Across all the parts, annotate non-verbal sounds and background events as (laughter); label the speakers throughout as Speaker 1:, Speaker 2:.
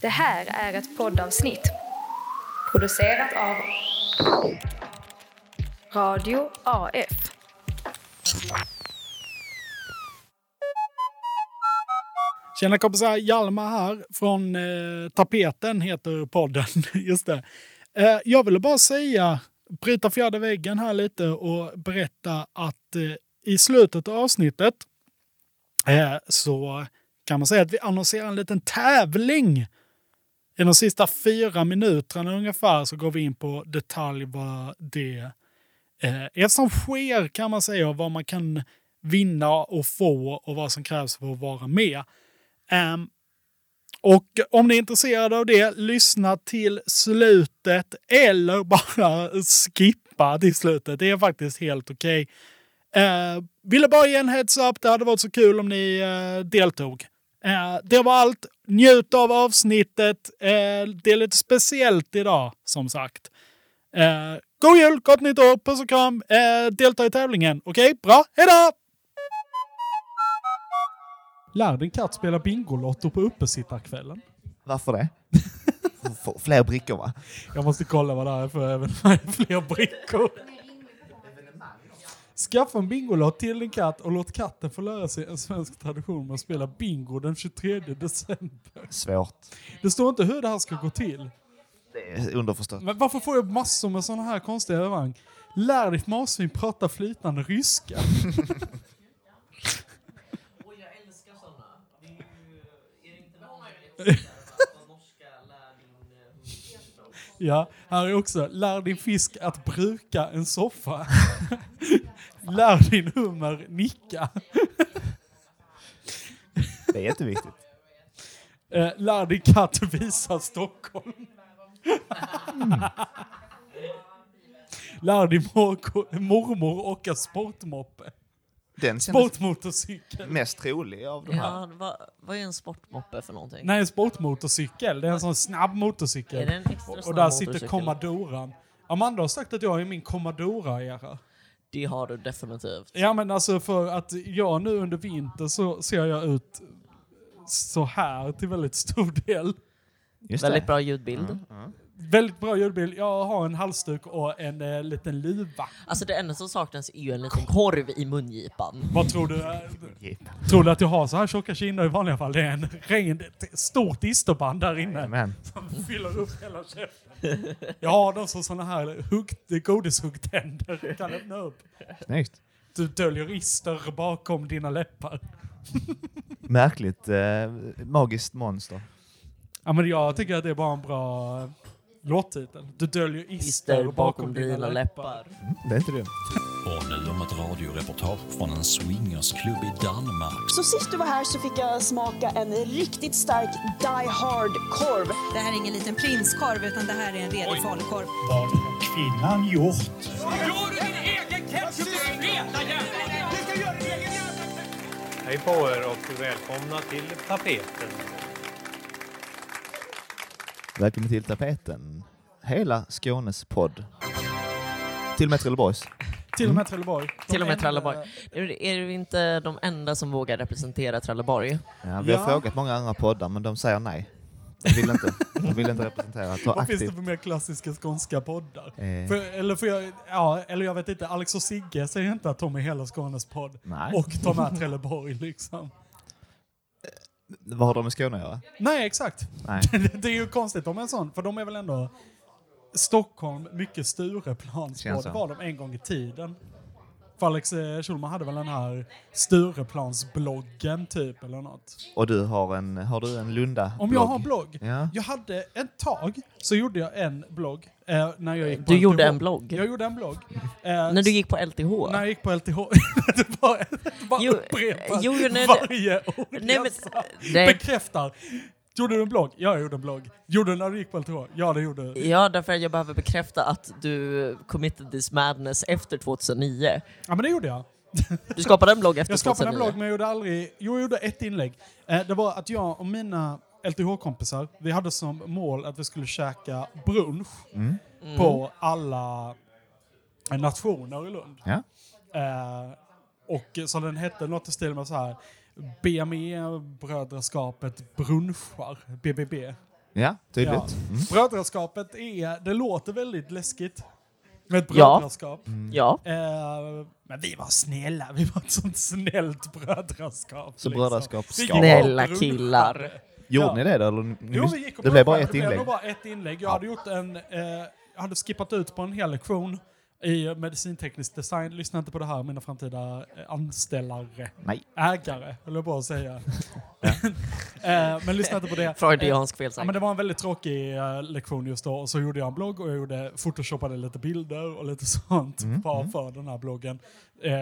Speaker 1: Det här är ett poddavsnitt producerat av Radio AF.
Speaker 2: Tjena kompisar, Hjalmar här från eh, Tapeten heter podden. (laughs) Just det. Eh, jag ville bara säga, bryta fjärde väggen här lite och berätta att eh, i slutet av avsnittet eh, så kan man säga att vi annonserar en liten tävling. I de sista fyra minuterna ungefär så går vi in på detalj vad det eh, är som sker kan man säga och vad man kan vinna och få och vad som krävs för att vara med. Ehm, och om ni är intresserade av det, lyssna till slutet eller bara skippa till slutet. Det är faktiskt helt okej. Eh, ville bara ge en heads up. Det hade varit så kul om ni eh, deltog. Eh, det var allt. Njut av avsnittet. Eh, det är lite speciellt idag, som sagt. Eh, god jul, gott nytt år, puss och kram. Eh, delta i tävlingen. Okej, bra. Hejdå! Lär din katt spela Bingolotto på uppesittarkvällen.
Speaker 3: Varför det? F- Fler brickor va?
Speaker 2: Jag måste kolla (laughs) vad det här är för evenemang. Fler brickor. Skaffa en bingolott till din katt och låt katten få lära sig en svensk tradition med att spela bingo den 23 december.
Speaker 3: Svårt.
Speaker 2: Det står inte hur det här ska gå till.
Speaker 3: Det är underförstått.
Speaker 2: Men varför får jag massor med sådana här konstiga evenemang? Lär ditt marsvin prata flytande ryska.
Speaker 4: Och jag älskar såna. Det är ju... Är det inte möjligt att lära dig norska, lär din eh, hund
Speaker 2: Ja, här är också. Lär din fisk att bruka en soffa. (laughs) Lär din hummer nicka.
Speaker 3: Det är jätteviktigt.
Speaker 2: Eh, Lär din katt visa Stockholm. Lär din morko- mormor åka sportmoppe.
Speaker 3: Den kändes
Speaker 2: Sportmotorcykel.
Speaker 3: mest trolig av de här.
Speaker 4: Ja, vad, vad är en sportmoppe för någonting?
Speaker 2: Nej, en sportmotorcykel. Det är en sån snabb motorcykel.
Speaker 4: Är det en extra
Speaker 2: och, och
Speaker 4: snabb
Speaker 2: där sitter
Speaker 4: motorcykel?
Speaker 2: kommadoran. Amanda har sagt att jag är min kommadora-era.
Speaker 4: Det har du definitivt.
Speaker 2: Ja men alltså för att jag nu under vintern så ser jag ut så här till väldigt stor del.
Speaker 3: Just
Speaker 4: Väldigt
Speaker 3: det.
Speaker 4: bra ljudbild.
Speaker 2: Mm, Väldigt bra ljudbild. Jag har en halsduk och en eh, liten luva.
Speaker 4: Alltså det enda som saknas är ju en liten korv i mungipan.
Speaker 2: Vad tror du? eh, Tror du att jag har så här tjocka kinder i vanliga fall? Det är en regn, ett stort isterband där inne
Speaker 3: Men
Speaker 2: som fyller upp hela käften. Jag har dem som såna här hugg, godishuggtänder. Jag Kan öppna upp.
Speaker 3: snyggt.
Speaker 2: Du döljer ister bakom dina läppar.
Speaker 3: Märkligt eh, magiskt monster.
Speaker 2: Ja, men jag tycker att det är bara en bra eh, låttitel. Du döljer ister
Speaker 4: Ister
Speaker 2: bakom,
Speaker 4: bakom
Speaker 2: dina, läppar.
Speaker 3: Det är inte dumt.
Speaker 5: Och nu om ett radioreportage från en swingersklubb i Danmark.
Speaker 6: Så sist du var här så fick jag smaka en riktigt stark Die Hard-korv.
Speaker 7: Det här är ingen liten prinskorv utan det här är en redig falukorv.
Speaker 8: kvinnan gjort?
Speaker 9: Hej på er och välkomna till tapeten.
Speaker 3: Välkommen till tapeten. Hela Skånes podd. Till och med Trelleborgs.
Speaker 2: Till och med Trelleborg. De
Speaker 4: Till och med
Speaker 2: enda-
Speaker 4: Trelleborg. Är, är vi inte de enda som vågar representera Trelleborg?
Speaker 3: Ja, vi
Speaker 2: Ja.
Speaker 3: har frågat många andra poddar men de säger nej. De vill inte, de vill inte representera. Ta
Speaker 2: Vad finns det
Speaker 3: aktivt.
Speaker 2: för mer klassiska skånska poddar?
Speaker 3: Eh.
Speaker 2: För, eller, för jag, ja, eller jag vet inte, Alex och Sigge säger inte att de är hela Skånes podd.
Speaker 3: Nej.
Speaker 2: Och de är Trelleborg liksom.
Speaker 3: Vad har de med Skåne att göra?
Speaker 2: Nej, exakt.
Speaker 3: (laughs) Nej.
Speaker 2: (laughs) Det är ju konstigt om en sån, för de är väl ändå Stockholm, mycket
Speaker 3: Känns
Speaker 2: Stureplanspodd
Speaker 3: så.
Speaker 2: var de en gång i tiden. För Alex eh, Schulman hade väl den här Stureplansbloggen typ eller något.
Speaker 3: Och du har en, har du en Lunda
Speaker 2: Om jag har en blogg?
Speaker 3: Ja.
Speaker 2: Jag hade ett tag så gjorde jag en blogg. Eh, när jag gick på
Speaker 4: Du
Speaker 2: LTH.
Speaker 4: gjorde en blogg?
Speaker 2: Jag gjorde en blogg. Eh,
Speaker 4: När du gick på LTH?
Speaker 2: när jag gick på LTH. (laughs) det var det bara
Speaker 4: Jo,
Speaker 2: upprepat
Speaker 4: Eh, jo, jo, nej,
Speaker 2: varje ord
Speaker 4: Nej,
Speaker 2: jag
Speaker 4: men-
Speaker 2: sa.
Speaker 4: nej.
Speaker 2: Bekräftar. Gjorde du en blogg? Ja, jag gjorde en blogg. Gjorde du när du gick på LTH? Ja, det gjorde du.
Speaker 4: Ja, därför att jag behöver bekräfta att du committed this madness efter 2009.
Speaker 2: Ja, men det gjorde jag.
Speaker 4: Du skapade en blogg efter
Speaker 2: Jag skapade en
Speaker 4: 2009.
Speaker 2: blogg men jag gjorde aldrig... Jo, jag gjorde ett inlägg. Eh, det var att jag och mina LTH-kompisar, vi hade som mål att vi skulle käka brunch på alla eh, nationer i Lund.
Speaker 3: Ja.
Speaker 2: Eh, och så den hette något i E, stil med så här BME, Brödraskapet Brunchar, BBB.
Speaker 3: Ja, tydligt.
Speaker 2: Ja.
Speaker 3: Mm.
Speaker 2: Brödraskapet är, det låter väldigt läskigt. Med ett
Speaker 10: Ja.
Speaker 2: brödraskap.
Speaker 10: Ja.
Speaker 2: Eh, men vi var snälla, vi var ett sånt snällt brödraskap. liksom.
Speaker 3: Så brödraskap
Speaker 2: Vi
Speaker 3: ska
Speaker 2: gick
Speaker 3: vara.
Speaker 10: Snälla
Speaker 2: runt.
Speaker 10: killar.
Speaker 3: Gjorde
Speaker 2: Ja.
Speaker 3: ni det då? Eller, ni
Speaker 2: Jo,
Speaker 3: miss-
Speaker 2: vi gick och
Speaker 3: det blev bara
Speaker 2: provade.
Speaker 3: ett
Speaker 2: Det
Speaker 3: inlägg.
Speaker 2: blev bara ett inlägg. Jag hade gjort en, eh, jag hade skippat ut på en hel lektion i medicinteknisk design. Lyssna inte på det här, mina framtida eh, anställare.
Speaker 3: Nej.
Speaker 2: Ägare, höll jag på att säga. (laughs) eh, men lyssna inte på det.
Speaker 10: Freudiansk
Speaker 2: Ja,
Speaker 10: felsägning.
Speaker 2: men det var en väldigt tråkig eh, lektion just då och så gjorde jag en blogg och jag gjorde, photoshopade lite bilder och lite (laughs) sånt bara för den här bloggen. Eh,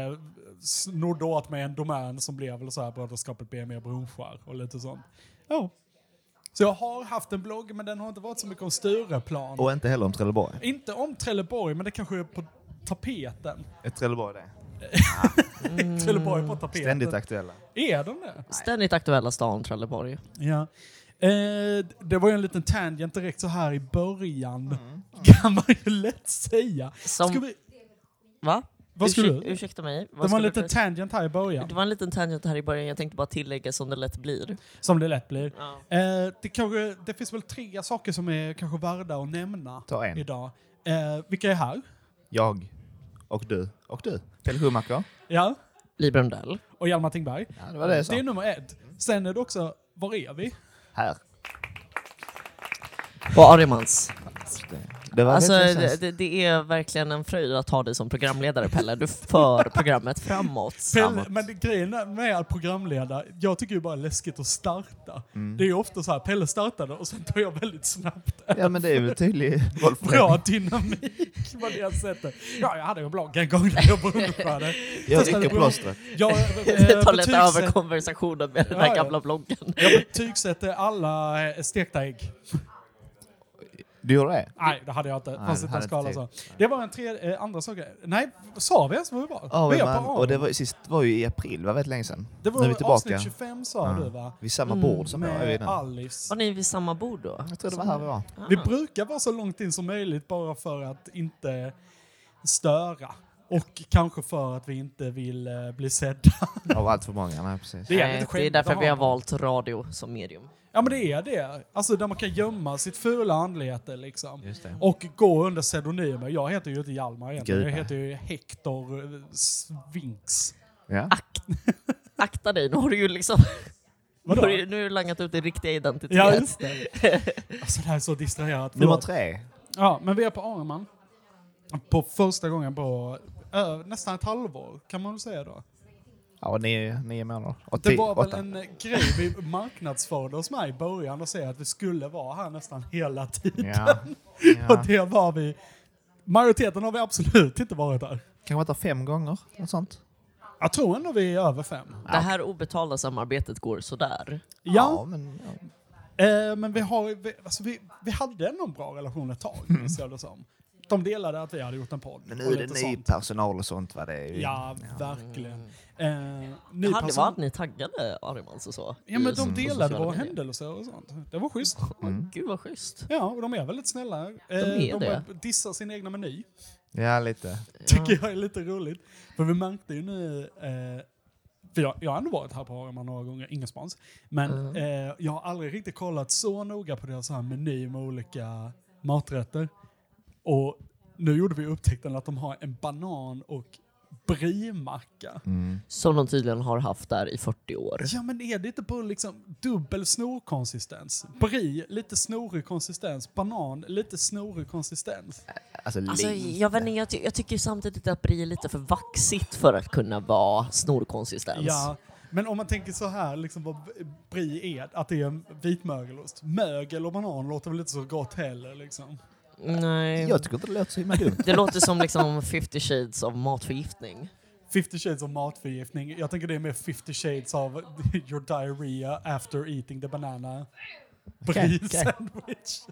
Speaker 2: snodde åt mig en domän som blev väl så här brödraskapet BME Bronskär och lite sånt. Ja. Så jag har haft en blogg men den har inte varit så mycket om Stureplan.
Speaker 3: Och inte heller om Trelleborg.
Speaker 2: Inte om Trelleborg men det kanske är på tapeten.
Speaker 3: Är Trelleborg det?
Speaker 2: Trelleborg på tapeten.
Speaker 3: Ständigt aktuella.
Speaker 2: Är de det?
Speaker 10: Ständigt aktuella stan Trelleborg.
Speaker 2: Ja. Eh, d- det var ju en liten tangent direkt så här i början. Kan man ju lätt säga.
Speaker 10: Som-
Speaker 2: Ska vi,
Speaker 10: Va?
Speaker 2: vad skulle du?
Speaker 10: Ursäkta mig. vad
Speaker 2: Det var en
Speaker 10: skulle
Speaker 2: liten
Speaker 10: du-
Speaker 2: tangent här i början,
Speaker 10: det var en liten tangent här i början, jag tänkte bara tillägga som det lätt blir.
Speaker 2: som det lätt blir. Eh, det, kanske, det finns väl tre saker som är kanske värda att nämna
Speaker 3: Ta en.
Speaker 2: idag. Eh, vilka är här?
Speaker 3: Jag. Och du. Och du. Pelle Schumacher.
Speaker 2: Ja,
Speaker 10: Li Brundell.
Speaker 2: och Hjalmar Tingberg.
Speaker 3: Ja, det var det jag sa.
Speaker 2: Det är nummer ett.
Speaker 10: Mm.
Speaker 2: Sen är det också, var är
Speaker 3: (laughs)
Speaker 2: vi?
Speaker 3: Här.
Speaker 10: Och Arimans.
Speaker 3: Det var
Speaker 10: Alltså,
Speaker 3: rätt
Speaker 10: det,
Speaker 3: intressant.
Speaker 10: det- det är verkligen en fröjd att ha dig som programledare Pelle. Du för programmet framåt.
Speaker 2: (laughs) Pelle,
Speaker 10: (laughs)
Speaker 2: men eh, det, grejen är med att programleda, jag tycker ju bara det är läskigt att starta.
Speaker 3: Mm.
Speaker 2: Det är ju ofta så här, Pelle startade och sen tar jag väldigt
Speaker 3: (laughs)
Speaker 2: snabbt
Speaker 3: Ja, men det är ju en tydlig bollfördelning.
Speaker 2: bra dynamik på det sättet. Ja, jag hade ju en blogg en gång där jag brunchade.
Speaker 3: Jag
Speaker 2: Testade
Speaker 3: dricker
Speaker 2: blogg.
Speaker 3: plåstret.
Speaker 10: (laughs)
Speaker 2: Jag, eh,
Speaker 10: Det tar lätt
Speaker 2: betygsätter-
Speaker 10: över konversationen med den
Speaker 2: Ja,
Speaker 10: här
Speaker 2: ja.
Speaker 10: gamla bloggen.
Speaker 2: jag betygsätter alla eh, stekta ägg.
Speaker 3: Du gör det?
Speaker 2: Nej, det hade jag inte. Fanns inte en
Speaker 3: hade
Speaker 2: skala
Speaker 3: inte typ-
Speaker 2: så. Det var en tre, eh, andra sak. Nej, sa vi ens vad vi var?
Speaker 3: Ja,
Speaker 2: vi
Speaker 3: men
Speaker 2: är
Speaker 3: man,
Speaker 2: på
Speaker 3: och det
Speaker 2: Aron.
Speaker 3: var, sist var ju i april, det var väldigt länge sedan.
Speaker 2: det
Speaker 3: nu
Speaker 2: var
Speaker 3: är vi tillbaka
Speaker 2: avsnitt 25 sa du va?
Speaker 3: vid samma bord som jag är
Speaker 2: Med
Speaker 3: vid nu.
Speaker 2: Alice.
Speaker 10: Var ni vid samma bord då?
Speaker 3: Jag tror det var här vi var.
Speaker 2: Vi brukar vara så långt in som möjligt bara för att inte störa. Och kanske för att vi inte vill eh, bli sedda.
Speaker 3: Av allt för många, nej precis.
Speaker 2: Det är,
Speaker 10: Nej,
Speaker 2: lite
Speaker 10: det är
Speaker 2: skämt
Speaker 10: därför
Speaker 2: att
Speaker 10: vi har
Speaker 2: ha.
Speaker 10: valt radio som medium.
Speaker 2: Ja men det är det. Alltså där man kan gömma sitt fula anlete liksom.
Speaker 3: Just det.
Speaker 2: Och gå under pseudonymer. Jag heter ju inte Hjalmar egentligen.
Speaker 3: Gud,
Speaker 2: jag
Speaker 3: nej.
Speaker 2: heter ju Hector eh, Sphinx.
Speaker 3: Ja.
Speaker 10: Akta dig, nu har du ju liksom...
Speaker 2: Vadå?
Speaker 10: Nu har du- nu har du langat ut din riktiga identitet.
Speaker 2: Ja just det. Alltså det här är så distraherat.
Speaker 3: Nummer
Speaker 2: Förlåt.
Speaker 3: tre.
Speaker 2: Ja men vi är på Arman. På första gången på ö, nästan ett halvår kan man väl säga då.
Speaker 3: Ja, nio, nio månader. Och
Speaker 2: Det
Speaker 3: tio,
Speaker 2: var väl
Speaker 3: Typ åtta.
Speaker 2: en eh, grej vi marknadsförde oss med i början och säga att vi skulle vara här nästan hela tiden.
Speaker 3: (laughs) Ja.
Speaker 2: Och
Speaker 3: ja.
Speaker 2: det var vi. Majoriteten har vi absolut inte varit där.
Speaker 3: Kanske var det fem gånger, något sånt.
Speaker 2: Jag tror ändå vi är över fem.
Speaker 10: Det här obetalda samarbetet går sådär.
Speaker 2: Ja,
Speaker 3: men... Ja.
Speaker 2: Eh, men vi, har, vi, alltså vi, vi hade ändå en bra relation ett tag, minns jag det som. De delade att vi hade gjort en podd.
Speaker 3: Men nu
Speaker 2: och
Speaker 3: är det
Speaker 2: lite
Speaker 3: ny
Speaker 2: sånt.
Speaker 3: personal och sånt va? Det är ju...
Speaker 2: Ja, verkligen. Eh, ny
Speaker 10: Det hade
Speaker 2: person-
Speaker 10: varit ni taggade Arimans och så.
Speaker 2: Ja,
Speaker 10: i-
Speaker 2: men de
Speaker 10: på
Speaker 2: delade
Speaker 10: sociala
Speaker 2: våra
Speaker 10: medier.
Speaker 2: händelser och sånt. Det var schysst.
Speaker 10: Åh, Gud vad schysst.
Speaker 2: Ja, och de är väldigt snälla. Eh,
Speaker 10: är
Speaker 2: de
Speaker 10: det.
Speaker 2: bara dissar sin egna meny.
Speaker 3: ja lite.
Speaker 2: Tycker jag är lite roligt. För vi märkte ju nu... Eh, för jag, jag har ändå varit här på Arman några gånger, ingen spons. Men eh, jag har aldrig riktigt kollat så noga på deras här meny med olika maträtter. Och nu gjorde vi upptäckten att de har en banan och brimacka.
Speaker 10: Som de tydligen har haft där i 40 år.
Speaker 2: Ja men är det inte på liksom dubbel snorkonsistens? Brie, lite snorig konsistens. Banan, lite snorig konsistens.
Speaker 3: Alltså,
Speaker 10: Alltså,
Speaker 3: lite.
Speaker 10: jag, vet inte, jag, ty- jag tycker ju samtidigt att brie är lite för vaxigt för att kunna vara snorkonsistens.
Speaker 2: Ja, men om man tänker så här, liksom vad brie är, att det är en vit mögelost. Mögel och banan låter väl inte så gott heller liksom.
Speaker 10: Nej.
Speaker 3: Jag tycker inte det låter så himla dumt.
Speaker 10: Det låter som liksom 50 shades av matförgiftning.
Speaker 2: 50 shades av matförgiftning. Jag tänker det är mer 50 shades av (laughs) your diarrhea after eating the banana. Brie
Speaker 3: okej.
Speaker 2: sandwich.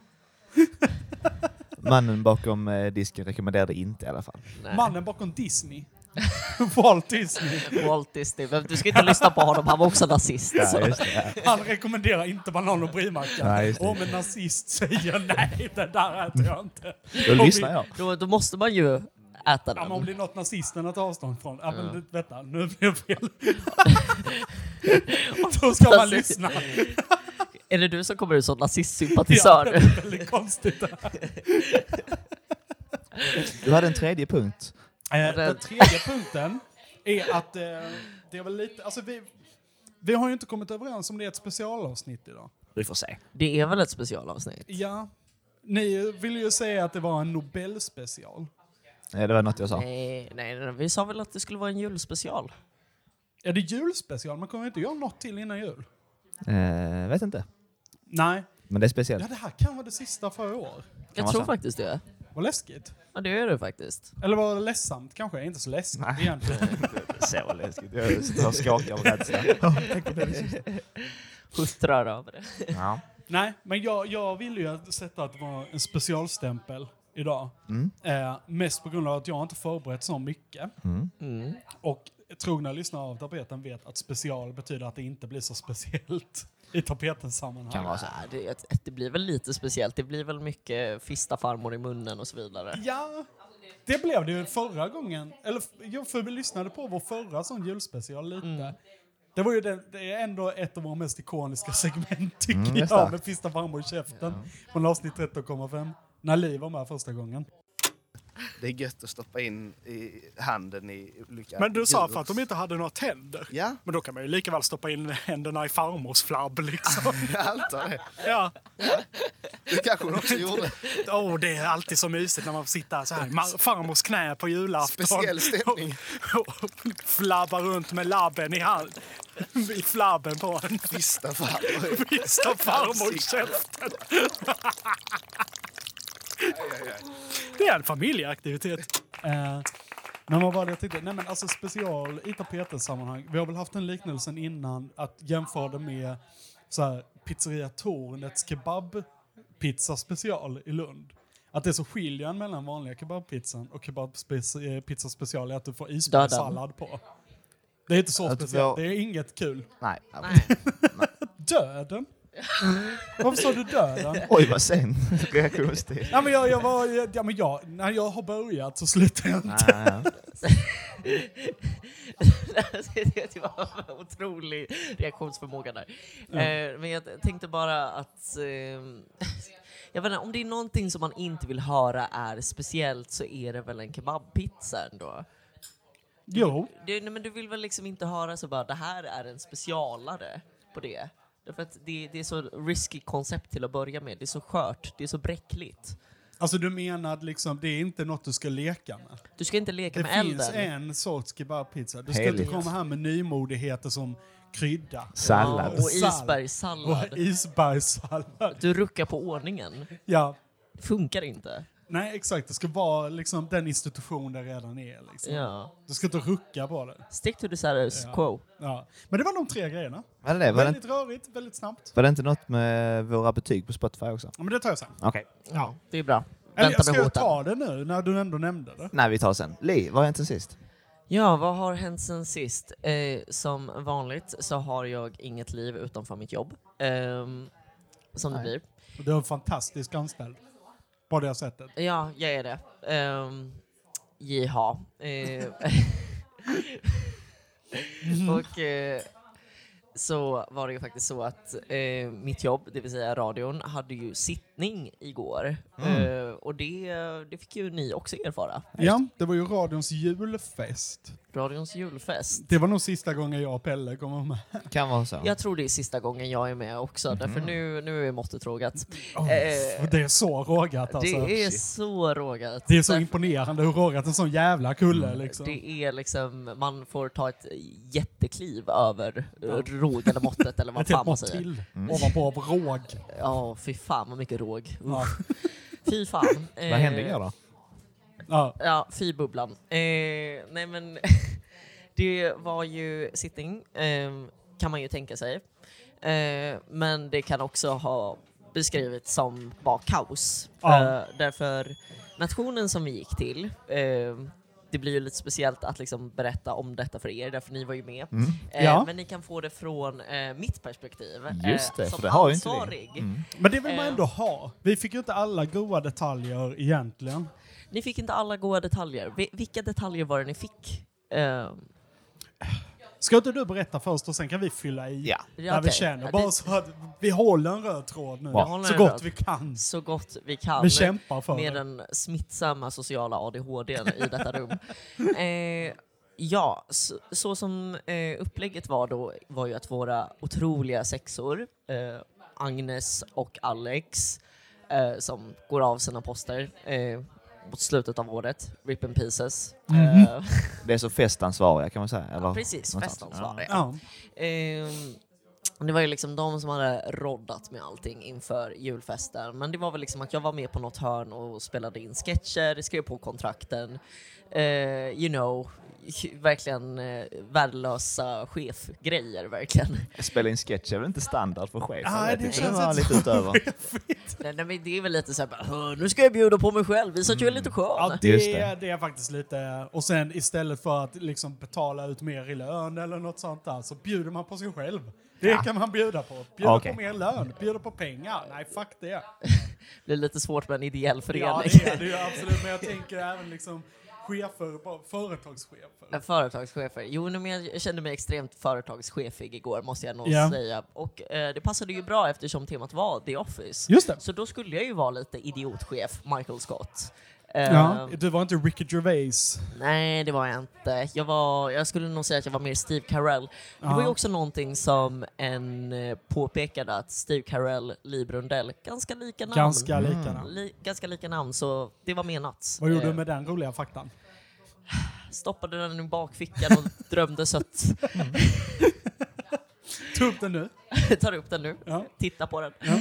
Speaker 3: (laughs) Mannen bakom eh, disken rekommenderade inte i alla fall.
Speaker 2: Mannen bakom Disney. (laughs) Walt Disney.
Speaker 10: Walt Disney. Men Du ska inte lyssna på honom, han var också nazist. Så.
Speaker 3: just det.
Speaker 2: Han rekommenderar inte banan och
Speaker 3: Nej,
Speaker 2: brimacka.
Speaker 3: just det.
Speaker 2: Om en nazist säger nej, det där äter jag inte.
Speaker 3: Då lyssnar jag.
Speaker 10: Då, då måste man ju äta
Speaker 2: Ja, men om
Speaker 10: den.
Speaker 2: det är något nazisterna tar avstånd från. Ja, men vänta, nu blev det fel. Då ska man lyssna.
Speaker 10: Är det du som kommer ut som nazistsympatisör nu?
Speaker 3: (laughs)
Speaker 2: Väldigt konstigt. Eh, det här.
Speaker 3: Du hade en tredje punkt.
Speaker 2: Eh, Den tredje punkten är att eh, det är väl lite, alltså vi, vi har ju inte kommit överens om det är ett specialavsnitt idag.
Speaker 3: Vi får se.
Speaker 10: Det är väl ett specialavsnitt?
Speaker 2: Ja, ni ville ju säga att det var en Nobelspecial.
Speaker 3: Det var något jag sa.
Speaker 10: Eh, Nej, nej, nej, vi sa väl att det skulle vara en julspecial?
Speaker 2: Ja, det är julspecial, man kommer ju inte göra något till innan jul.
Speaker 3: Eh, vet inte.
Speaker 2: Nej.
Speaker 3: Men det är speciellt.
Speaker 2: Ja, det här kan vara det sista för i år.
Speaker 10: Jag
Speaker 3: vara
Speaker 10: tror
Speaker 3: så.
Speaker 10: faktiskt det.
Speaker 2: Vad läskigt.
Speaker 10: Ja, det är det faktiskt.
Speaker 2: Eller var det ledsamt kanske? Inte så läskigt egentligen.
Speaker 3: Så läskigt. Jag sitter och skakar av rädsla.
Speaker 10: Huttrar över det.
Speaker 3: Ja.
Speaker 2: Nej, men jag, jag ville ju sätta att det var en specialstämpel idag.
Speaker 3: Mm.
Speaker 2: Eh, mest på grund av att jag inte förberett så mycket.
Speaker 3: Mm.
Speaker 2: Och trogna lyssnare av tapeten vet att special betyder att det inte blir så speciellt i tapetens sammanhang.
Speaker 3: Kan vara så.
Speaker 10: Ja, Ah, det, det blir väl lite speciellt. Det blir väl mycket fista farmor i munnen och
Speaker 3: (laughs)
Speaker 10: så vidare. (laughs)
Speaker 2: Ja, det blev det ju förra gången. Eller f- jo, för vi lyssnade på vår förra sån julspecial lite. Det var ju den, det är ändå ett av våra mest ikoniska segment tycker
Speaker 3: Mm, just
Speaker 2: jag,
Speaker 3: det.
Speaker 2: med Fista farmor i käften. Från avsnitt 13,5. När Li var med första gången.
Speaker 11: Det är gött att stoppa in i handen i olika
Speaker 2: Men du sa
Speaker 11: djur.
Speaker 2: för att de inte hade några tänder.
Speaker 11: Ja,
Speaker 2: Men då kan man ju lika väl stoppa in händerna i farmors flabb
Speaker 11: (laughs)
Speaker 2: liksom.
Speaker 11: jag antar det.
Speaker 2: ja.
Speaker 11: Det kanske hon också gjorde.
Speaker 2: oh, det är alltid så mysigt när man får sitta så här i mar- farmors knä på julafton.
Speaker 11: Speciell stämning.
Speaker 2: Och, och flabbar runt med labben i hand. I flabben på en.
Speaker 11: Fista farmor.
Speaker 2: Vista farmor i käften. (laughs) Det är en familjeaktivitet. Eh, men vad var det jag tänkte? Nej men alltså special i tapeten-sammanhang. Vi har väl haft den liknelsen innan att jämföra det med så här, pizzeria Tornets kebabpizza special i Lund. Att det är så skiljan mellan vanliga kebabpizzan och kebabpizza special är att du får isbergssallad på. Det är inte så
Speaker 3: Att
Speaker 2: speciellt, det
Speaker 3: jag-
Speaker 2: är inget kul.
Speaker 3: Nej.
Speaker 2: Döden? Varför sa du döden?
Speaker 10: (laughs)
Speaker 3: Oj, vad sen reaktionstid.
Speaker 2: Ja, men jag, jag var, ja, men jag, när jag har börjat så slutar jag inte.
Speaker 3: Nej, ja.
Speaker 10: det var en otrolig reaktionsförmåga där. Eh, men jag tänkte bara att... Eh, (laughs) jag vet inte, om det är någonting som man inte vill höra är speciellt så är det väl en kebabpizza ändå.
Speaker 2: Jo,
Speaker 10: Du, nej, men du vill väl liksom inte höra så bara det här är en specialare på det? Därför att det, det är så risky koncept till att börja med. Det är så skört, det är så bräckligt.
Speaker 2: alltså du menar liksom, det är inte något du ska leka med?
Speaker 10: Du ska inte leka
Speaker 2: Det
Speaker 10: med
Speaker 2: finns
Speaker 10: elden.
Speaker 2: en sorts kebabpizza. Du ska
Speaker 3: Heligt.
Speaker 2: inte komma här med nymodigheter som krydda.
Speaker 10: Ja,
Speaker 3: Sallad.
Speaker 2: Sallad.
Speaker 10: och
Speaker 2: Och
Speaker 10: isbergssallad.
Speaker 2: isbergssallad.
Speaker 10: Du ruckar på ordningen.
Speaker 2: Ja.
Speaker 10: Det funkar inte.
Speaker 2: Nej, exakt. Det ska vara liksom den institution där redan är. Liksom.
Speaker 10: Ja.
Speaker 2: Du ska inte rucka på det.
Speaker 10: Stick to the status quo.
Speaker 2: Ja. Men det var de tre grejerna.
Speaker 3: Var det det? Var det,
Speaker 2: Väldigt
Speaker 3: inte,
Speaker 2: rörigt, väldigt snabbt.
Speaker 3: var det inte något med våra betyg på Spotify också?
Speaker 2: Ja, men det tar jag sen.
Speaker 3: Okej.
Speaker 10: Ja, det är bra.
Speaker 2: Eller
Speaker 10: Vänta
Speaker 2: ska
Speaker 10: med
Speaker 2: jag
Speaker 10: hoten.
Speaker 2: ta det nu när du ändå nämnde det?
Speaker 3: Nej, vi tar det sen. Li, vad har hänt sen sist?
Speaker 10: Ja, vad har hänt sen sist? Eh, som vanligt så har jag inget liv utanför mitt jobb. Ehm, som det blir.
Speaker 2: Du är en fantastisk anställd. På det sättet.
Speaker 10: Ja, jag är det. Ehm, Jiha. Ehm, (laughs) och eh, så var det ju faktiskt så att eh, mitt jobb, det vill säga radion, hade ju sittning igår.
Speaker 2: Mm.
Speaker 10: Eh, och det, det fick ju ni också erfara.
Speaker 2: Ja, det var ju radions julfest.
Speaker 10: Radions julfest.
Speaker 2: Det var nog sista gången jag och Pelle kom vara med.
Speaker 3: Kan vara så.
Speaker 10: Jag tror det är sista gången jag är med också, därför
Speaker 2: Mhm.
Speaker 10: nu, nu är måttet rågat.
Speaker 2: Och
Speaker 10: Eh,
Speaker 2: det är så rågat alltså.
Speaker 10: det är så rågat.
Speaker 2: det är så
Speaker 10: Därför-
Speaker 2: imponerande hur rågat en sån jävla kulle liksom.
Speaker 10: Det är liksom, man får ta ett jättekliv över ja. råg eller måttet
Speaker 2: (laughs)
Speaker 10: eller vad
Speaker 2: Ett helt
Speaker 10: fan man
Speaker 2: mått
Speaker 10: säger.
Speaker 2: till typ Mm. ovanpå av råg.
Speaker 10: Ja, fy fan vad mycket råg.
Speaker 2: Ja.
Speaker 10: Fy fan.
Speaker 3: Vad hände
Speaker 10: Eh,
Speaker 3: igår då?
Speaker 2: Ja.
Speaker 10: Ja, fy bubblan. Eh, nej men, (laughs) det var ju sittning, eh, kan man ju tänka sig. Eh, men det kan också ha beskrivits som bara kaos.
Speaker 2: Ja.
Speaker 10: Eh, därför, nationen som vi gick till, eh, det blir ju lite speciellt att liksom berätta om detta för er, därför ni var ju med.
Speaker 3: Mm.
Speaker 10: Eh,
Speaker 2: Ja.
Speaker 10: Men ni kan få det från eh, mitt perspektiv. eh,
Speaker 3: Just det,
Speaker 10: som
Speaker 3: för det har ju inte vi. Mm.
Speaker 10: ansvarig.
Speaker 2: Men det
Speaker 10: Eh.
Speaker 2: vill man ändå ha. Vi fick ju inte alla goda detaljer egentligen.
Speaker 10: Ni Ehm, fick inte alla goda detaljer. Vi, vilka detaljer var det ni fick? Eh,
Speaker 2: Ska inte du berätta först och sen kan vi fylla i
Speaker 10: Ja.
Speaker 2: där
Speaker 10: Ja,
Speaker 2: vi
Speaker 10: okej.
Speaker 2: känner.
Speaker 10: Ja,
Speaker 2: Bara
Speaker 10: det-
Speaker 2: så att vi håller en röd tråd nu.
Speaker 10: Vi håller
Speaker 2: Så
Speaker 10: en
Speaker 2: gott
Speaker 10: röd-
Speaker 2: vi kan.
Speaker 10: Så gott vi kan.
Speaker 2: Vi kämpar för
Speaker 10: Med
Speaker 2: det.
Speaker 10: den smittsamma sociala ADHD i
Speaker 2: (laughs)
Speaker 10: detta rum. Eh, ja, så, så som eh, upplägget var då var ju att våra otroliga sexor, eh, Agnes och Alex, eh, som går av sina poster eh, mot slutet av året, RIP in pieces.
Speaker 2: Mhm.
Speaker 10: Eh,
Speaker 3: Det är så festansvariga kan man säga? Eller?
Speaker 10: precis,
Speaker 3: någonstans.
Speaker 10: festansvariga.
Speaker 2: Ja.
Speaker 10: Ehm, det var ju liksom de som hade roddat med allting inför julfesten. Men det var väl liksom att jag var med på något hörn och spelade in sketcher, skrev på kontrakten. Eh, you know, verkligen eh, värdelösa
Speaker 2: (laughs)
Speaker 10: chefgrejer verkligen.
Speaker 3: Ja. Spela in sketch är väl inte standard för chefer?
Speaker 2: Nej,
Speaker 3: Jag
Speaker 2: det
Speaker 3: tycker
Speaker 2: känns
Speaker 3: var
Speaker 2: inte
Speaker 3: lite
Speaker 2: så.
Speaker 3: utöver.
Speaker 10: Nej, nej, men det är väl lite så här, bara, "Hör, nu ska jag bjuda på mig själv, visa att jag är lite skön.
Speaker 2: Ja,
Speaker 3: Just
Speaker 2: det,
Speaker 3: det.
Speaker 2: det. är faktiskt lite... Och sen istället för att liksom betala ut mer i lön eller något sånt där så bjuder man på sig själv. Det kan man bjuda på. Bjuda
Speaker 3: Okej.
Speaker 2: på mer lön, bjuda på pengar. Nej, fuck det.
Speaker 10: Det är lite svårt med en ideell förening.
Speaker 2: Ja,
Speaker 10: (laughs)
Speaker 2: det är det ju absolut. Men jag tänker även liksom chefer, bara företagschefer.
Speaker 10: Eh, Företagschefer. Jo, nej, men jag kände mig extremt företagschefig igår måste jag nog
Speaker 2: Ja.
Speaker 10: säga. Och eh, det passade ju bra eftersom temat var The Office.
Speaker 2: Just det.
Speaker 10: Så då skulle jag ju vara lite idiotchef, Michael Scott. Eh,
Speaker 2: Ja, du var inte Ricky Gervais.
Speaker 10: Nej, det var jag inte. Jag, var, jag skulle nog säga att jag var mer Steve Carell. Det var ju
Speaker 2: Ja.
Speaker 10: också någonting som en eh, påpekade att Steve Carell, Liv Rundell, ganska lika namn.
Speaker 2: Ganska likadant.
Speaker 10: Li, ganska lika namn, så det var menat.
Speaker 2: Vad gjorde
Speaker 10: Eh,
Speaker 2: du med den roliga faktan?
Speaker 10: Stoppade den i bakfickan och (laughs) drömde så att
Speaker 2: Ta upp den nu.
Speaker 10: (laughs) tar upp den nu,
Speaker 2: Ja.
Speaker 10: tittar på den. Ja.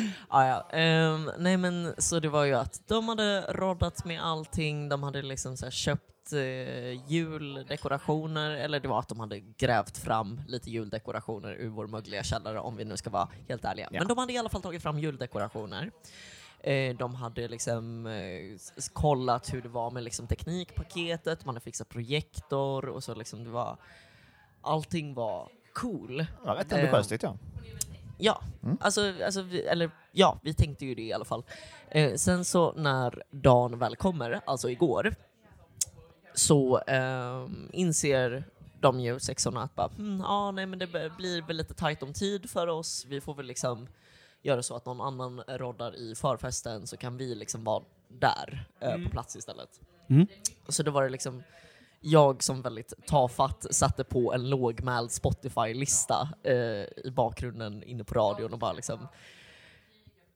Speaker 10: Ja, Ehm, nej men så det var ju att de hade roddat med allting, de hade liksom så här köpt eh, juldekorationer, eller det var att de hade grävt fram lite juldekorationer ur vår mögliga källare om vi nu ska vara helt ärliga. Men de hade i alla fall tagit fram juldekorationer. Eh, De hade liksom eh, s- kollat hur det var med liksom teknikpaketet, man hade fixat projektor och så liksom det var... Allting var cool.
Speaker 3: Ja, rätt ambitiöst tyckte jag.
Speaker 10: Ja, alltså, alltså, vi, eller, ja, vi tänkte ju det i alla fall. Eh, sen så när dagen väl kommer, alltså igår, så ehm, inser de ju sexorna att bara, "Hmm, ja, nej, men det b- blir väl lite tajt om tid för oss. Vi får väl liksom göra så att någon annan roddar i förfesten så kan vi liksom vara där eh, på plats istället.
Speaker 2: Mm.
Speaker 10: Så då var det liksom jag som väldigt tafatt satte på en lågmäld Spotify-lista eh, i bakgrunden inne på radion och bara liksom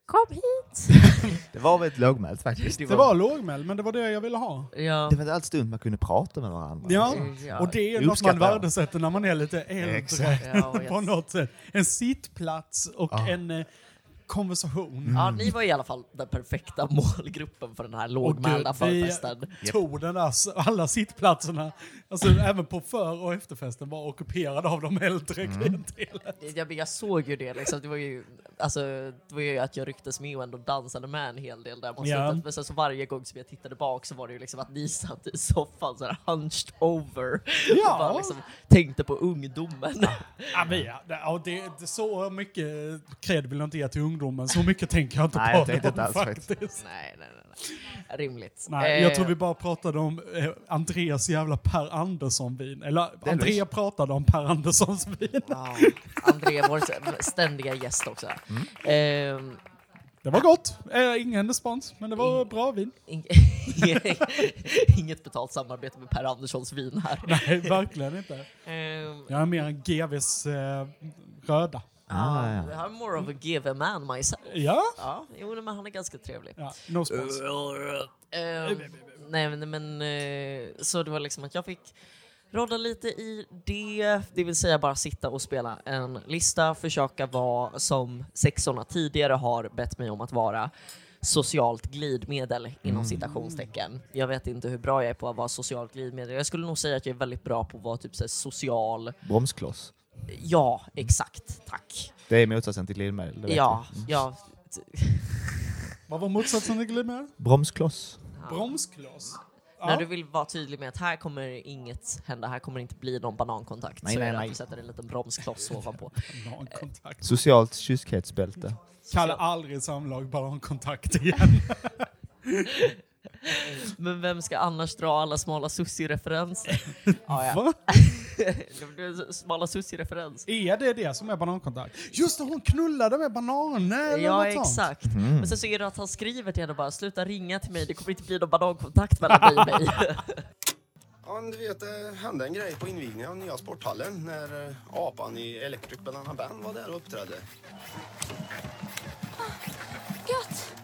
Speaker 10: Kom hit!
Speaker 3: Det var väldigt lågmält faktiskt.
Speaker 2: Det var lågmäld, men det var det jag ville ha.
Speaker 10: Ja,
Speaker 3: Det var inte alls dumt man kunde prata med varandra.
Speaker 2: Ja,
Speaker 10: Ja.
Speaker 2: och det är något
Speaker 3: Det
Speaker 2: man
Speaker 3: Mm, uppskattar jag.
Speaker 2: värdesätter när man är lite äldre. (laughs)
Speaker 3: Exakt. Ah.
Speaker 10: Ja, oh, och
Speaker 2: på
Speaker 10: jag-
Speaker 2: något sätt. En sittplats och en eh,
Speaker 3: Mm.
Speaker 2: konversation.
Speaker 10: ja, ni var i alla fall den perfekta (laughs) målgruppen för den här
Speaker 2: Och
Speaker 10: lågmälda
Speaker 2: gud, vi
Speaker 10: förfesten.
Speaker 2: tog den där, s- alla sittplatserna, alltså även på för och efterfesten, var ockuperade av de äldre
Speaker 3: Mm.
Speaker 2: klientelet.
Speaker 10: Jag, men jag såg ju det liksom. Det var ju, alltså, det var ju att jag rycktes med och ändå dansade med en hel del där mot
Speaker 2: Ja.
Speaker 10: slutet. Men sen så varje gång som jag tittade bak så var det ju liksom att ni satt i soffan så här hunched over
Speaker 2: Ja.
Speaker 10: och bara liksom tänkte på ungdomen.
Speaker 2: Ja, vi, ja, det, ja, det, det, så mycket cred vill jag inte ge till ungdomen, så mycket tänker jag inte
Speaker 3: Nej,
Speaker 2: på
Speaker 3: jag tänkte
Speaker 2: dem
Speaker 3: inte alls faktiskt.
Speaker 10: nej, nej, nej, nej. Rimligt.
Speaker 2: Nej, jag
Speaker 10: Eh,
Speaker 2: tror vi bara pratade om eh, Andreas jävla Per Andersson-vin. Eller André pratade om Per Anderssons vin.
Speaker 10: ja, André, vår ständiga gäst också.
Speaker 2: Mm.
Speaker 10: Ehm,
Speaker 2: Det var gott. Eh, ingen respons, men det var bra vin.
Speaker 10: ing- (laughs) Inget betalt samarbete med Per Anderssons vin här.
Speaker 2: Nej, Eh, verkligen inte.
Speaker 10: Ehm,
Speaker 2: Jag är mer en GVs eh, röda.
Speaker 3: Ah, ja.
Speaker 10: I'm more of a give a man myself.
Speaker 2: Ja,
Speaker 10: Ja, jo, men han är ganska trevlig.
Speaker 2: ja no spons.
Speaker 10: Ehm, nej, men, men eh, så det var liksom att jag fick rodda lite i det, det vill säga bara sitta och spela en lista, försöka vara som sexorna tidigare har bett mig om att vara, socialt glidmedel
Speaker 3: Mm.
Speaker 10: inom citationstecken. Jag vet inte hur bra jag är på att vara socialt glidmedel. Jag skulle nog säga att jag är väldigt bra på att vara typ så här social.
Speaker 3: Bromskloss.
Speaker 10: Ja, exakt. Tack.
Speaker 3: Det är motsatsen till glidmedel. det vet
Speaker 10: Ja,
Speaker 3: vi. Mm.
Speaker 10: ja.
Speaker 2: Vad var motsatsen till glimmer?
Speaker 3: Bromskloss.
Speaker 2: Bromskloss.
Speaker 10: När
Speaker 2: Ja.
Speaker 10: du vill vara tydlig med att här kommer inget hända, här kommer inte bli någon banankontakt.
Speaker 3: Nej,
Speaker 10: så
Speaker 3: nej,
Speaker 10: är det
Speaker 3: nej.
Speaker 10: att du sätter en liten bromskloss ovanpå.
Speaker 2: Banankontakt.
Speaker 3: Socialt kyskhetsbälte.
Speaker 2: Kalla aldrig samlag banankontakt igen.
Speaker 10: Men vem ska annars dra alla smala sussi-referenser? ja, ja.
Speaker 2: Va?
Speaker 10: det är en Smala Sussie-referens.
Speaker 2: Är det det som är banankontakt? Just det, hon knullade med bananer eller
Speaker 10: Ja,
Speaker 2: något sånt.
Speaker 10: exakt. Men sen så är det att han skriver till henne bara “sluta ringa till mig, det kommer inte bli någon banankontakt mellan dig och mig”.
Speaker 11: Ja, du vet, det hände en grej på invigningen av nya sporthallen när eh, apan i Electric Banana Band var där och uppträdde.
Speaker 12: Gött!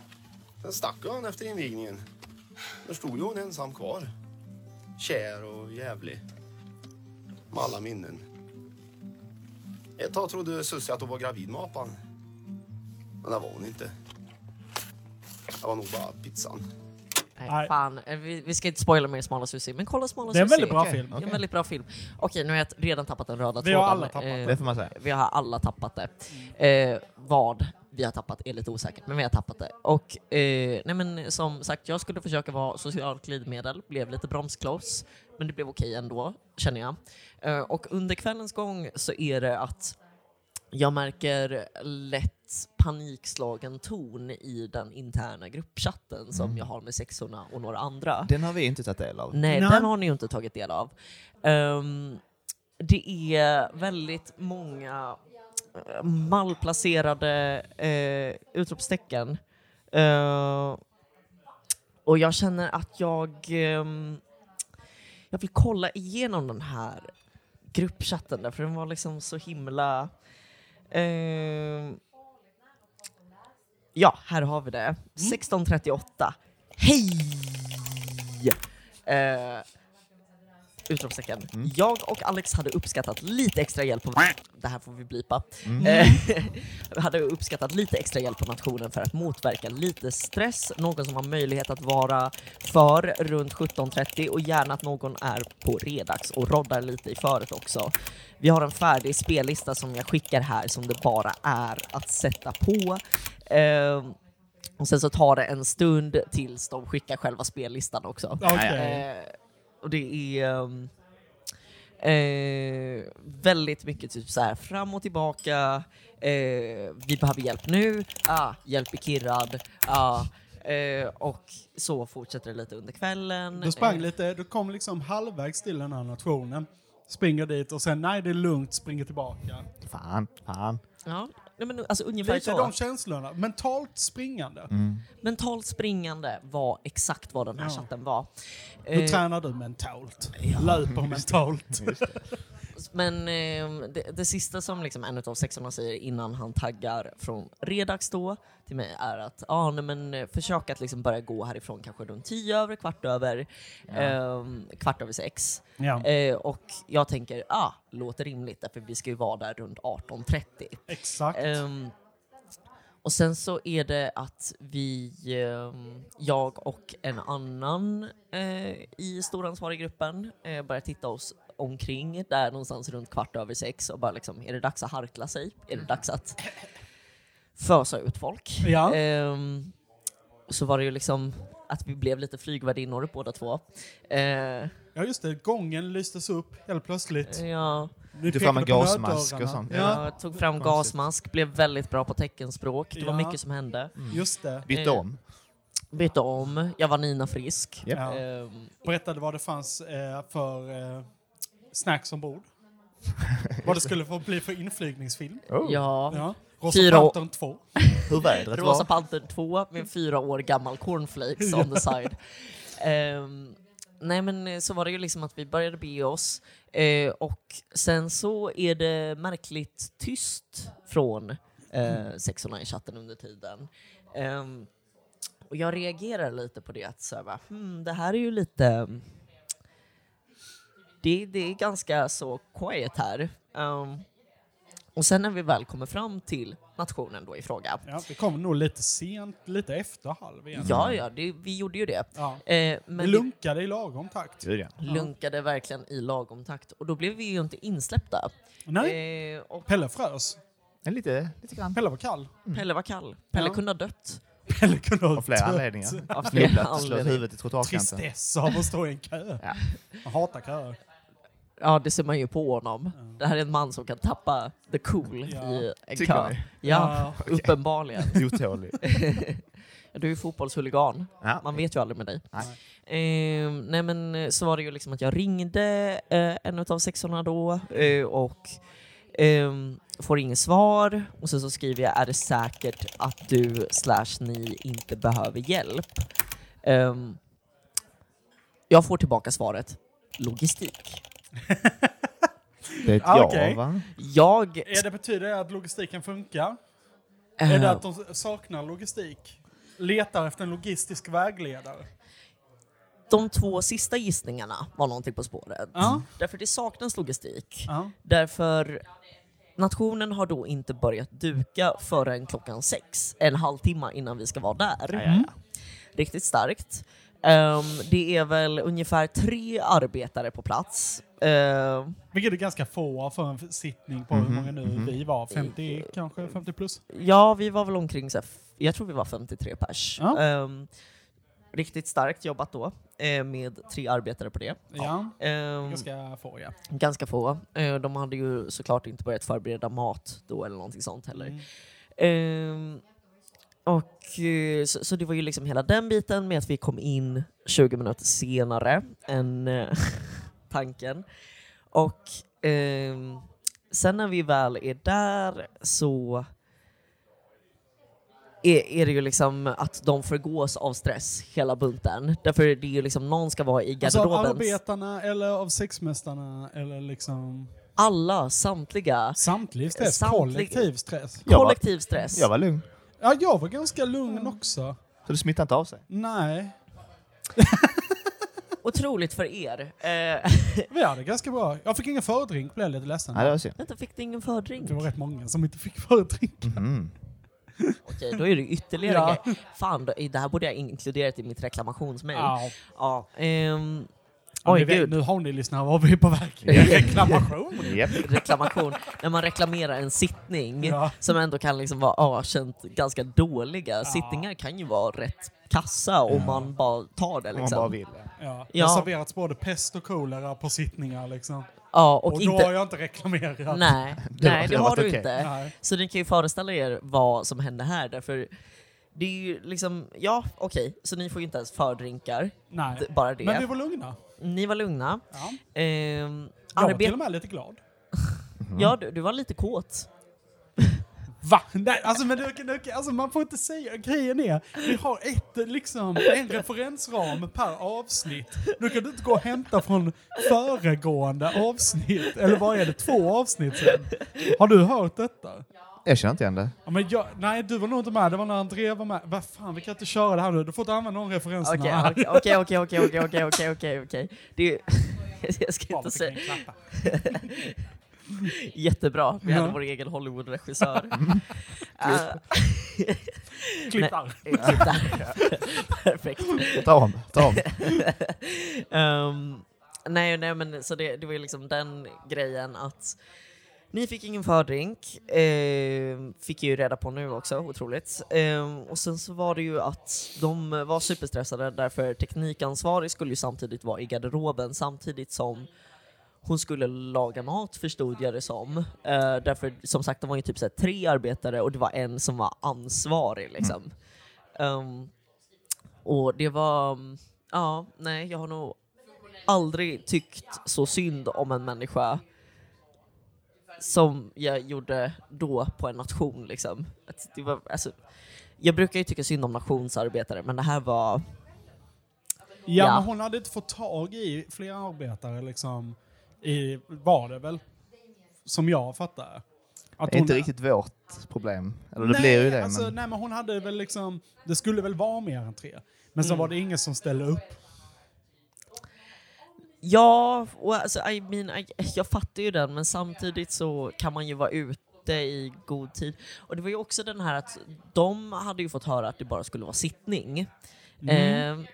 Speaker 11: Sen stack ju han efter invigningen. Då stod ju hon ensam kvar. Kär och jävlig. Med alla minnen. Ett tag trodde Sussie att hon var gravid med apan. Men det var hon inte. Det var nog bara pizzan.
Speaker 10: Nej, fan. Eh, Vi, vi ska inte spoila mer Smala Susie, men kolla Smala
Speaker 11: Det är en
Speaker 10: Susie.
Speaker 11: väldigt bra
Speaker 10: Okej,
Speaker 11: film.
Speaker 10: Det är en
Speaker 11: Okej.
Speaker 10: väldigt bra film. Okej, nu har jag redan tappat den röda Eh,
Speaker 3: Vi har alla tappat det. Det får man säga.
Speaker 10: Vi har alla tappat det. Eh, vad vi har tappat är lite osäkert, men vi har tappat det. Och eh, nej men som sagt, jag skulle försöka vara socialt glidmedel, blev lite bromskloss, men det blev okej ändå, känner jag. Eh, och under kvällens gång så är det att jag märker lätt panikslagen ton i den interna gruppchatten som jag har med sexorna och några andra.
Speaker 3: Den har vi inte tagit del av.
Speaker 10: Nej, den har ni ju inte tagit del av. Ehm, det är väldigt många eh, malplacerade eh, utropstecken. Eh, och jag känner att jag, ehm, jag vill kolla igenom den här gruppchatten där, för den var liksom så himla... ehm, ja, här har vi det. 1638. Hej! Eh, Utropstecken. Jag och Alex hade uppskattat lite extra hjälp på... Det här får vi blipa.
Speaker 4: Mm.
Speaker 10: Eh, (laughs) hade uppskattat lite extra hjälp av nationen för att motverka lite stress, någon som har möjlighet att vara för runt 17.30 och gärna att någon är på redags och roddar lite i föret också. Vi har en färdig spellista som jag skickar här som det bara är att sätta på. Ehm, och sen så tar det en stund tills de skickar själva spellistan också.
Speaker 4: Okej.
Speaker 10: Eh, och det är ehm, eh, väldigt mycket typ så här fram och tillbaka, eh, vi behöver hjälp nu, ah, hjälp är kirrad, ah, eh, och så fortsätter det lite under kvällen.
Speaker 2: Du sprang
Speaker 10: Eh,
Speaker 2: lite, du kom liksom halvvägs till den här nationen, springer dit och sen nej det är lugnt, springer tillbaka.
Speaker 3: Fan, fan.
Speaker 10: Ja, nej, men alltså ungefär
Speaker 2: Lite
Speaker 10: så.
Speaker 2: de känslorna, mentalt springande.
Speaker 3: Mm.
Speaker 10: Mentalt springande var exakt vad den här
Speaker 2: Ja.
Speaker 10: chatten var.
Speaker 2: Hur
Speaker 10: Eh,
Speaker 2: tränar du mentalt?
Speaker 10: (laughs)
Speaker 2: Löper mentalt?
Speaker 10: Men eh, det, det sista som liksom en av sexorna säger innan han taggar från Redax då till mig är att ah, nej, men, eh, försök att liksom börja gå härifrån kanske runt tio över, kvart över, ehm, kvart över sex.
Speaker 4: Ja.
Speaker 10: Eh, och jag tänker, ah, låter rimligt därför vi ska ju vara där runt 18.30.
Speaker 2: Exakt.
Speaker 10: eh, Ehm, och sen så är det att vi, ehm, jag och en annan eh, i storansvarig gruppen eh, börjar titta oss omkring där någonstans runt kvart över sex och bara liksom, är det dags att harkla sig? Är det
Speaker 2: Mm.
Speaker 10: dags att fösa ut folk?
Speaker 2: Ja.
Speaker 10: Ehm, så var det ju liksom att vi blev lite flygvärdinnor båda två. Eh,
Speaker 2: Ja just det, gången lystes upp helt plötsligt.
Speaker 10: Ja.
Speaker 2: Vi
Speaker 3: Du får med
Speaker 2: pekade på
Speaker 3: gasmask
Speaker 2: nöddörrarna.
Speaker 3: och sånt.
Speaker 10: Ja. Jag tog fram gasmask, blev väldigt bra på teckenspråk. Det var
Speaker 2: Ja.
Speaker 10: mycket som hände.
Speaker 2: Mm. Just det.
Speaker 3: Bytte om.
Speaker 10: Eh, bytte om. Jag var Nina Frisk.
Speaker 2: Ja.
Speaker 10: Eh,
Speaker 2: Berättade vad det fanns eh, för eh, snacks
Speaker 10: (laughs)
Speaker 2: ombord. vad det skulle få bli för inflygningsfilm.
Speaker 10: Ja.
Speaker 2: Rosa
Speaker 10: Fyra år-
Speaker 2: Pantern 2.
Speaker 10: Rosa Pantern 2 med fyra år gammal cornflakes on the side. Ehm, nej men eh, så var det ju liksom att vi började be oss eh, och sen så är det märkligt tyst från eh, sexorna i chatten under tiden. Ehm, och jag reagerar lite på det att så här, va, hmm, det här är ju lite det, det är ganska så quiet här. Ehm, och sen när vi väl kommer fram till nationen då i fråga.
Speaker 2: Ja, vi kom nog lite sent, lite efter halv igen.
Speaker 10: Ja, ja, det, vi gjorde ju det.
Speaker 2: Ja.
Speaker 10: Eh,
Speaker 2: vi lunkade i lagom takt.
Speaker 3: Gud, ja.
Speaker 10: lunkade verkligen i lagom takt. Och då blev vi ju inte insläppta.
Speaker 2: Nej.
Speaker 10: Eh, och
Speaker 2: Pelle frös.
Speaker 3: Lite,
Speaker 2: Pelle var kall. (laughs)
Speaker 10: Pelle var kall. Pelle
Speaker 2: Ja.
Speaker 10: kunde ha dött.
Speaker 2: Pelle kunde ha
Speaker 3: Av flera
Speaker 2: dött.
Speaker 3: anledningar.
Speaker 10: Av
Speaker 3: (laughs)
Speaker 10: flera
Speaker 3: Snubblat och slagit
Speaker 10: anledningar.
Speaker 3: huvudet i trottoarkanten.
Speaker 2: Tristess av att stå i en kö.
Speaker 3: Ja.
Speaker 2: Jag hatar köer.
Speaker 10: Ja, det ser man ju på honom. Det här är en man som kan tappa the cool i en
Speaker 3: Tycker
Speaker 10: kö.
Speaker 3: ni?
Speaker 10: Ja,
Speaker 2: Eh,
Speaker 3: Ja, okej.
Speaker 10: uppenbarligen.
Speaker 3: Otålig.
Speaker 10: Du är ju fotbollshuligan.
Speaker 3: Ja.
Speaker 10: Man vet ju aldrig med dig.
Speaker 3: Nej.
Speaker 10: Eh, nej men eh, så var det ju liksom att jag ringde eh, en av sexorna då eh, och ehm, får inget svar. Och sen så skriver jag, är det säkert att du slash ni inte behöver hjälp? Ehm, jag får tillbaka svaret, logistik.
Speaker 3: Det är ett
Speaker 2: Ah,
Speaker 3: ja,
Speaker 2: okej.
Speaker 3: va?
Speaker 10: Jag...
Speaker 2: Är det betyder det att logistiken funkar? Är
Speaker 10: eh,
Speaker 2: det att de saknar logistik? Letar efter en logistisk vägledare?
Speaker 10: de två sista gissningarna var någonting på spåret.
Speaker 2: Ja.
Speaker 10: Därför det saknas logistik.
Speaker 2: Ja.
Speaker 10: Därför nationen har då inte börjat duka förrän klockan sex, en halvtimme innan vi ska vara där. Mm. Riktigt starkt. Ehm, det är väl ungefär tre arbetare på plats. Ehm,
Speaker 2: Vilket är ganska få för en sittning på
Speaker 3: Mhm,
Speaker 2: hur många nu vi var. 50 kanske? 50 plus?
Speaker 10: Ja, vi var väl omkring, så här, f- jag tror vi var 53 pers.
Speaker 2: Ja.
Speaker 10: Ehm, riktigt starkt jobbat då, eh, med tre arbetare på det.
Speaker 2: Ja.
Speaker 10: Ehm,
Speaker 2: Ganska få ja.
Speaker 10: Ganska få. Eh, De hade ju såklart inte börjat förbereda mat då eller någonting sånt heller.
Speaker 2: Mm.
Speaker 10: Ehm, och, eh, så, så det var ju liksom hela den biten med att vi kom in 20 minuter senare än eh, (laughs) tanken. Och ehm, sen när vi väl är där så är, är det ju liksom att de förgås av stress, hela bunten. Därför är det ju liksom någon ska vara i
Speaker 2: Alltså av
Speaker 10: garderoben.
Speaker 2: arbetarna eller av sexmästarna eller liksom...
Speaker 10: Alla, samtliga.
Speaker 2: Samtlig stress?
Speaker 10: Samtlig-
Speaker 2: Kollektiv stress?
Speaker 3: Jag var-
Speaker 10: Kollektiv stress.
Speaker 3: Jag var lugn.
Speaker 2: Ja, jag var ganska lugn också.
Speaker 3: Så det smittar inte av sig.
Speaker 2: Nej,
Speaker 10: Otroligt för er. Eh, (laughs)
Speaker 2: vi hade ganska bra. Jag fick ingen fördrink, blev jag lite ledsen.
Speaker 3: Nej, det var synd.
Speaker 10: vänta, fick ni ingen fördrink?
Speaker 2: Det var rätt många som inte fick fördrink.
Speaker 3: Mm.
Speaker 10: Okej, då är det ytterligare
Speaker 2: Ja.
Speaker 10: grej. Fan, då, det här borde jag inkluderat i mitt reklamationsmejl. Ja.
Speaker 2: Ja.
Speaker 10: ehm,
Speaker 2: Ja,
Speaker 10: oj,
Speaker 2: ni vet-
Speaker 10: gud.
Speaker 2: Nu har ni lyssnat, vad vi är på väg. Det är reklamation.
Speaker 3: Japp.
Speaker 10: Reklamation. När man reklamerar en sittning
Speaker 2: Ja.
Speaker 10: som ändå kan liksom vara avkänt ganska dåliga. Sittningar kan ju vara rätt kassa om man bara tar det.
Speaker 3: Om man bara
Speaker 10: Liksom.
Speaker 3: vill.
Speaker 2: Ja. Det
Speaker 10: Ja.
Speaker 2: har serverats både pest och kolera på sittningar liksom.
Speaker 10: Ja,
Speaker 2: Och,
Speaker 10: och,
Speaker 2: då har
Speaker 10: inte...
Speaker 2: jag inte reklamerat.
Speaker 10: Nej,
Speaker 3: Det var-
Speaker 10: nej, det
Speaker 3: det
Speaker 10: har
Speaker 3: var
Speaker 10: du
Speaker 3: okej.
Speaker 10: inte.
Speaker 2: Nej.
Speaker 10: Så ni kan ju föreställa er vad som hände här, därför det är ju liksom, ja okej, så ni får ju inte ens fördrinkar,
Speaker 2: Nej.
Speaker 10: D- bara det.
Speaker 2: Men vi var lugna.
Speaker 10: Ni var lugna.
Speaker 2: Ja.
Speaker 10: Ehm,
Speaker 2: Jag var till
Speaker 10: arbet-
Speaker 2: och Alltså, med lite glad.
Speaker 10: ja, du, du var lite kåt.
Speaker 2: Va? Nej, alltså, men du, du, alltså man får inte säga, grejen är, vi har ett, liksom, en referensram per avsnitt. Nu kan du inte gå och hämta från föregående avsnitt, eller vad är det, två avsnitt sen? Har du hört detta?
Speaker 3: Jag känner inte igen det.
Speaker 2: Ja, men jag, nej, du var nog inte med, det var när André var med. Vad fan, vi kan inte köra det här nu, du får inte använda de referenserna
Speaker 10: Okej,
Speaker 2: här.
Speaker 10: okej, okej, okej, okej, okej, okej, okej, okej, okej. Det är (laughs) Jag ska inte säga... Jättebra, vi hade
Speaker 2: Ja.
Speaker 10: vår
Speaker 2: (laughs)
Speaker 10: egen Hollywood-regissör. Eh, (laughs)
Speaker 2: Klipp där.
Speaker 10: klipp där. (laughs) Perfekt.
Speaker 3: Ta om, ta om.
Speaker 10: Ehm, nej, nej, men så det, det var ju liksom den grejen att ni fick ingen fördrink, ehm, fick jag ju reda på nu också, otroligt. Ehm, och sen så var det ju att de var superstressade därför teknikansvarig skulle ju samtidigt vara i garderoben samtidigt som hon skulle laga mat förstod jag det som. Eh, därför som sagt det var ju typ så här, tre arbetare och det var en som var ansvarig liksom. Ehm, och det var, mm, ja, nej, jag har nog aldrig tyckt så synd om en människa som jag gjorde då på en nation. Liksom. Att det var, alltså, jag brukar ju tycka synd om nationsarbetare, men det här var...
Speaker 2: Ja,
Speaker 10: Ja.
Speaker 2: men hon hade inte fått tag i fler arbetare liksom, i, var det väl? Som jag fattar. Att
Speaker 3: Det är inte
Speaker 2: hon-
Speaker 3: riktigt vårt problem. Eller det blir ju det.
Speaker 2: Alltså,
Speaker 3: men...
Speaker 2: Nej, men hon hade väl liksom, det skulle väl vara mer än tre. Men
Speaker 10: Mm.
Speaker 2: så var det ingen som ställde upp.
Speaker 10: Ja, och alltså, I mean, I, jag fattar ju den, men samtidigt så kan man ju vara ute i god tid. Och det var ju också den här att de hade ju fått höra att det bara skulle vara sittning.
Speaker 2: Mm.
Speaker 10: Eh,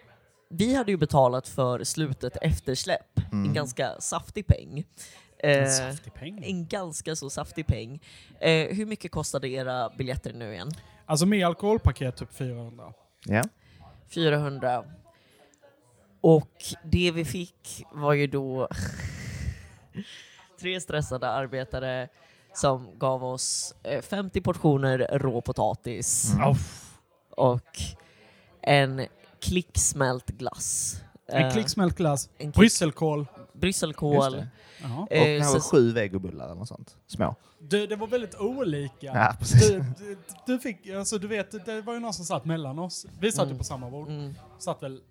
Speaker 10: vi hade ju betalat för slutet eftersläpp, en ganska saftig peng. Eh,
Speaker 2: Mm. Saftig peng.
Speaker 10: en ganska så saftig peng. Eh, hur mycket kostade era biljetter nu igen?
Speaker 2: Alltså med alkoholpaket typ 400.
Speaker 3: Ja.
Speaker 10: 400. Och det vi fick var ju då (laughs) tre stressade arbetare som gav oss eh, 50 portioner rå potatis
Speaker 2: Mm.
Speaker 10: och en klicksmält glass.
Speaker 2: En
Speaker 10: Eh,
Speaker 2: klicksmält glass.
Speaker 10: en klick-
Speaker 2: Brysselkål.
Speaker 3: Just
Speaker 10: Brysselkål.
Speaker 3: det.
Speaker 2: Jaha.
Speaker 3: Och
Speaker 10: Eh,
Speaker 3: kanske
Speaker 10: så-
Speaker 3: sju vegobullar eller något sånt. Små.
Speaker 2: Du, det var väldigt olika.
Speaker 3: Ja, precis. (laughs)
Speaker 2: Du, du, du fick, alltså du vet, det var ju någon som satt mellan oss. Vi
Speaker 10: Mm.
Speaker 2: satt ju på samma bord. Satt väl,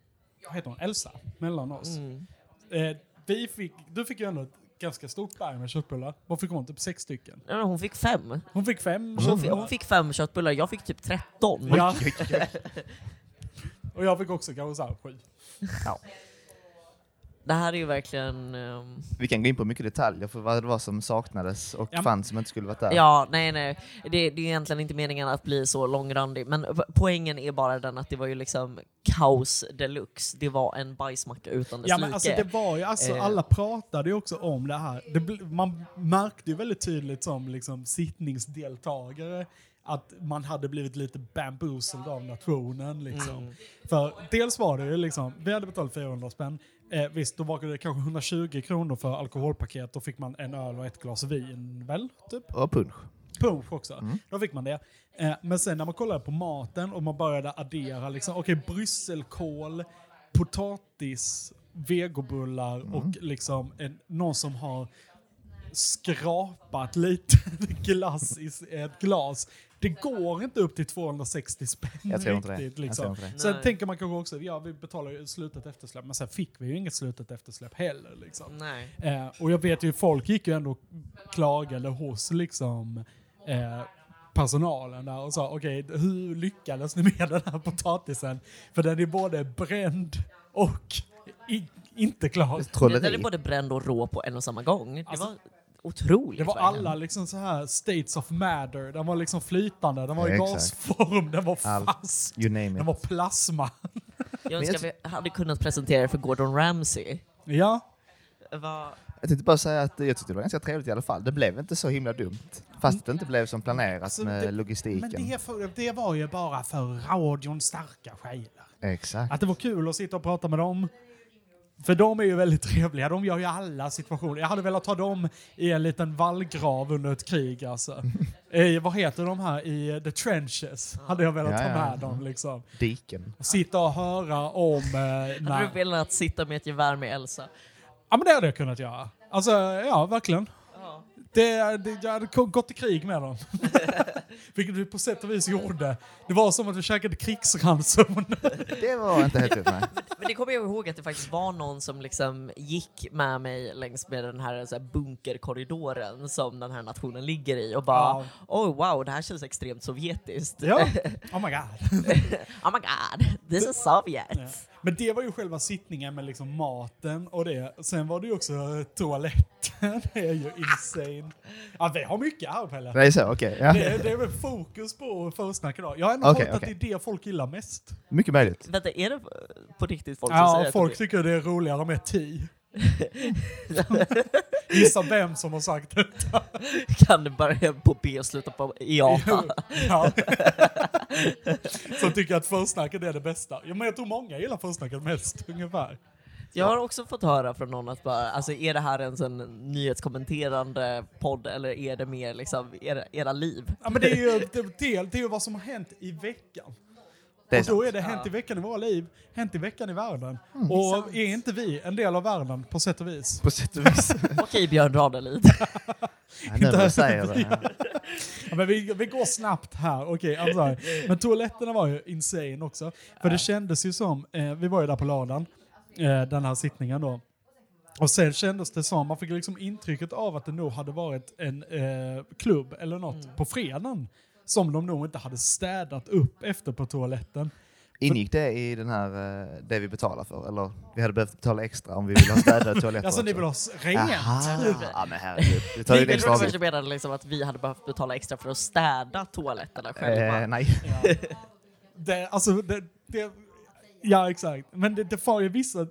Speaker 2: vad heter hon, Elsa, mellan oss.
Speaker 10: Mm.
Speaker 2: Eh, vi fick, du fick ju ändå ett ganska stort berg med köttbullar. Vad fick hon? Typ sex stycken?
Speaker 10: Ja, men Hon fick
Speaker 3: Mm.
Speaker 10: fem.
Speaker 2: Hon fick fem
Speaker 10: Hon, fick,
Speaker 2: köttbullar.
Speaker 10: hon fick fem köttbullar, jag fick typ 13.
Speaker 2: Ja. Och jag fick också kanske såhär sju.
Speaker 10: Det här är ju verkligen... ehm,
Speaker 3: Vi kan gå in på mycket detaljer för vad det var som saknades och
Speaker 2: Ja, men-
Speaker 3: fanns som inte skulle varit där.
Speaker 10: Ja, nej, nej. Det, det är egentligen inte meningen att bli så långrandig, men v- poängen är bara den att det var ju liksom kaos deluxe. Det var en bajsmacka utan dess
Speaker 2: Ja men
Speaker 10: like.
Speaker 2: alltså det var ju, alltså
Speaker 10: Eh.
Speaker 2: alla pratade ju också om det här. Det, bl- man märkte ju väldigt tydligt som liksom sittningsdeltagare att man hade blivit lite bamboozled av nationen liksom. För dels var det ju liksom, vi hade betalat 400 spänn. Eh, visst, då var det kanske 120 kronor för alkoholpaket. Då fick man en öl och ett glas vin väl, typ?
Speaker 3: Och punsch.
Speaker 2: punsch också.
Speaker 3: Mm.
Speaker 2: Då fick man det. Eh, men sen när man kollade på maten och man började addera, liksom, okej, brysselkål, potatis, vegobullar
Speaker 3: Mm.
Speaker 2: och liksom en, någon som har skrapat lite (laughs) glass i s- ett glas. Det går inte upp till 260 spänn
Speaker 3: Jag tror inte det.
Speaker 2: riktigt.
Speaker 3: Jag
Speaker 2: Liksom.
Speaker 3: tror inte det.
Speaker 2: Sen
Speaker 10: Nej.
Speaker 2: tänker man kanske också, ja vi betalar ju slutet eftersläpp, men sen fick vi ju inget slutet eftersläpp heller. Liksom.
Speaker 10: Nej.
Speaker 2: Eh, och jag vet ju, folk gick ju ändå och klagade hos liksom eh, personalen där och sa okej, hur lyckades ni med den här potatisen? För den är både bränd och i, inte klar.
Speaker 10: Den
Speaker 3: Trolleri.
Speaker 10: är både bränd och rå på en och samma gång. Det
Speaker 2: Alltså,
Speaker 10: var otroligt.
Speaker 2: Det var
Speaker 10: verkligen.
Speaker 2: alla liksom så här states of matter. Den var liksom flytande, den var i
Speaker 3: Exakt.
Speaker 2: gasform, den var
Speaker 3: Allt.
Speaker 2: fast,
Speaker 3: You name
Speaker 2: den
Speaker 3: it.
Speaker 2: var plasma.
Speaker 10: Jag önskar vi hade kunnat presentera er för Gordon Ramsay.
Speaker 2: ja.
Speaker 10: Var...
Speaker 3: Jag tänkte bara säga att jag tyckte det var ganska trevligt i alla fall. Det blev inte så himla dumt. Fast det inte blev som planerat
Speaker 2: Så
Speaker 3: med
Speaker 2: Alltså, det-
Speaker 3: logistiken.
Speaker 2: Men det, är för, det var ju bara för radions starka själar.
Speaker 3: Exakt.
Speaker 2: Att det var kul att sitta och prata med dem. För de är ju väldigt trevliga, de gör ju alla situationer. Jag hade velat ha dem i en liten vallgrav under ett krig alltså. I, vad heter de här? I eh, The Trenches hade jag velat
Speaker 3: Ja,
Speaker 2: ha
Speaker 3: ja,
Speaker 2: med
Speaker 3: ja.
Speaker 2: dem liksom.
Speaker 3: Diken.
Speaker 2: Sitta och höra om... Eh,
Speaker 10: Hade
Speaker 2: när...
Speaker 10: du velat sitta med ett gevär med Elsa?
Speaker 2: Ja men det hade jag kunnat göra. Alltså, ja verkligen. Det, det, jag hade ko- gått i krig med dem. (laughs) Vilket vi på sätt och vis gjorde. Det var som att vi käkade krigsranson.
Speaker 3: Det var inte helt rätt nej.
Speaker 10: Men det kommer jag ihåg att det faktiskt var någon som liksom gick med mig längs med den här, så här bunkerkorridoren som den här nationen ligger i och bara oh wow, det här känns extremt sovjetiskt. (laughs)
Speaker 2: ja. Oh my god.
Speaker 10: Oh my god, this is Soviet.
Speaker 2: Men det var ju själva sittningen med liksom maten och det. Sen var det ju också eh, toaletten. (laughs) Det är ju insane. Ja, vi har mycket arv Pelle.
Speaker 3: Det är så, okej.
Speaker 2: Det
Speaker 3: Ja.
Speaker 2: är, det är väl fokus på försnack idag. Jag har ändå
Speaker 3: Okej,
Speaker 2: hört
Speaker 3: okej.
Speaker 2: att det är det folk gillar mest.
Speaker 3: Mycket möjligt.
Speaker 10: Vänta, är det på riktigt folk som
Speaker 2: Ja,
Speaker 10: säger
Speaker 2: folk
Speaker 10: att det...
Speaker 2: tycker det är roligare med ti. (laughs) Gissa vem som har sagt det.
Speaker 10: kan det börja på B och sluta på E IATA?
Speaker 2: (laughs) ja. Som tycker att försnacket är det bästa. Ja, men jag tror många gillar försnacket mest, ungefär.
Speaker 10: Jag har också fått höra från någon att bara, alltså, är det här ens en nyhetskommenterande podd eller är det mer liksom era,
Speaker 2: (laughs)
Speaker 10: era liv?
Speaker 2: Ja, men det är ju det, det är ju vad som har hänt i veckan.
Speaker 3: Det är
Speaker 2: och då
Speaker 3: sant.
Speaker 2: är det hänt i veckan i våra liv, hänt i veckan i världen. och är inte vi en del av världen på sätt och vis?
Speaker 3: På sätt
Speaker 2: (laughs)
Speaker 3: och vis.
Speaker 10: Okej Björn Ranelid.
Speaker 3: Ja, nu när du säger det. ja.
Speaker 2: Ja, men vi, vi går snabbt här, okej. I'm sorry. men toaletterna var ju insane också. För det kändes ju som, eh, vi var ju där på lördagen, eh, den här sittningen då. Och sen kändes det som, man fick liksom intrycket av att det nog hade varit en eh, klubb eller något på fredagen. Som de nog inte hade städat upp efter på toaletten.
Speaker 3: Ingick det i den här, eh, det vi betalar för? Eller vi hade behövt betala extra om vi ville
Speaker 2: (laughs)
Speaker 3: ha städade toaletter
Speaker 2: Alltså ni vill ha s- rent? Typ.
Speaker 3: Aha. Ja men herregud. Det tar ju en
Speaker 10: Jag
Speaker 3: extra
Speaker 10: trodde först
Speaker 3: avgift.
Speaker 10: du menade liksom att vi hade behövt betala extra för att städa toaletterna själva.
Speaker 3: Eh, nej. (laughs)
Speaker 2: Det, alltså, det, det, ja, exakt. Men det, det fanns ju vissa...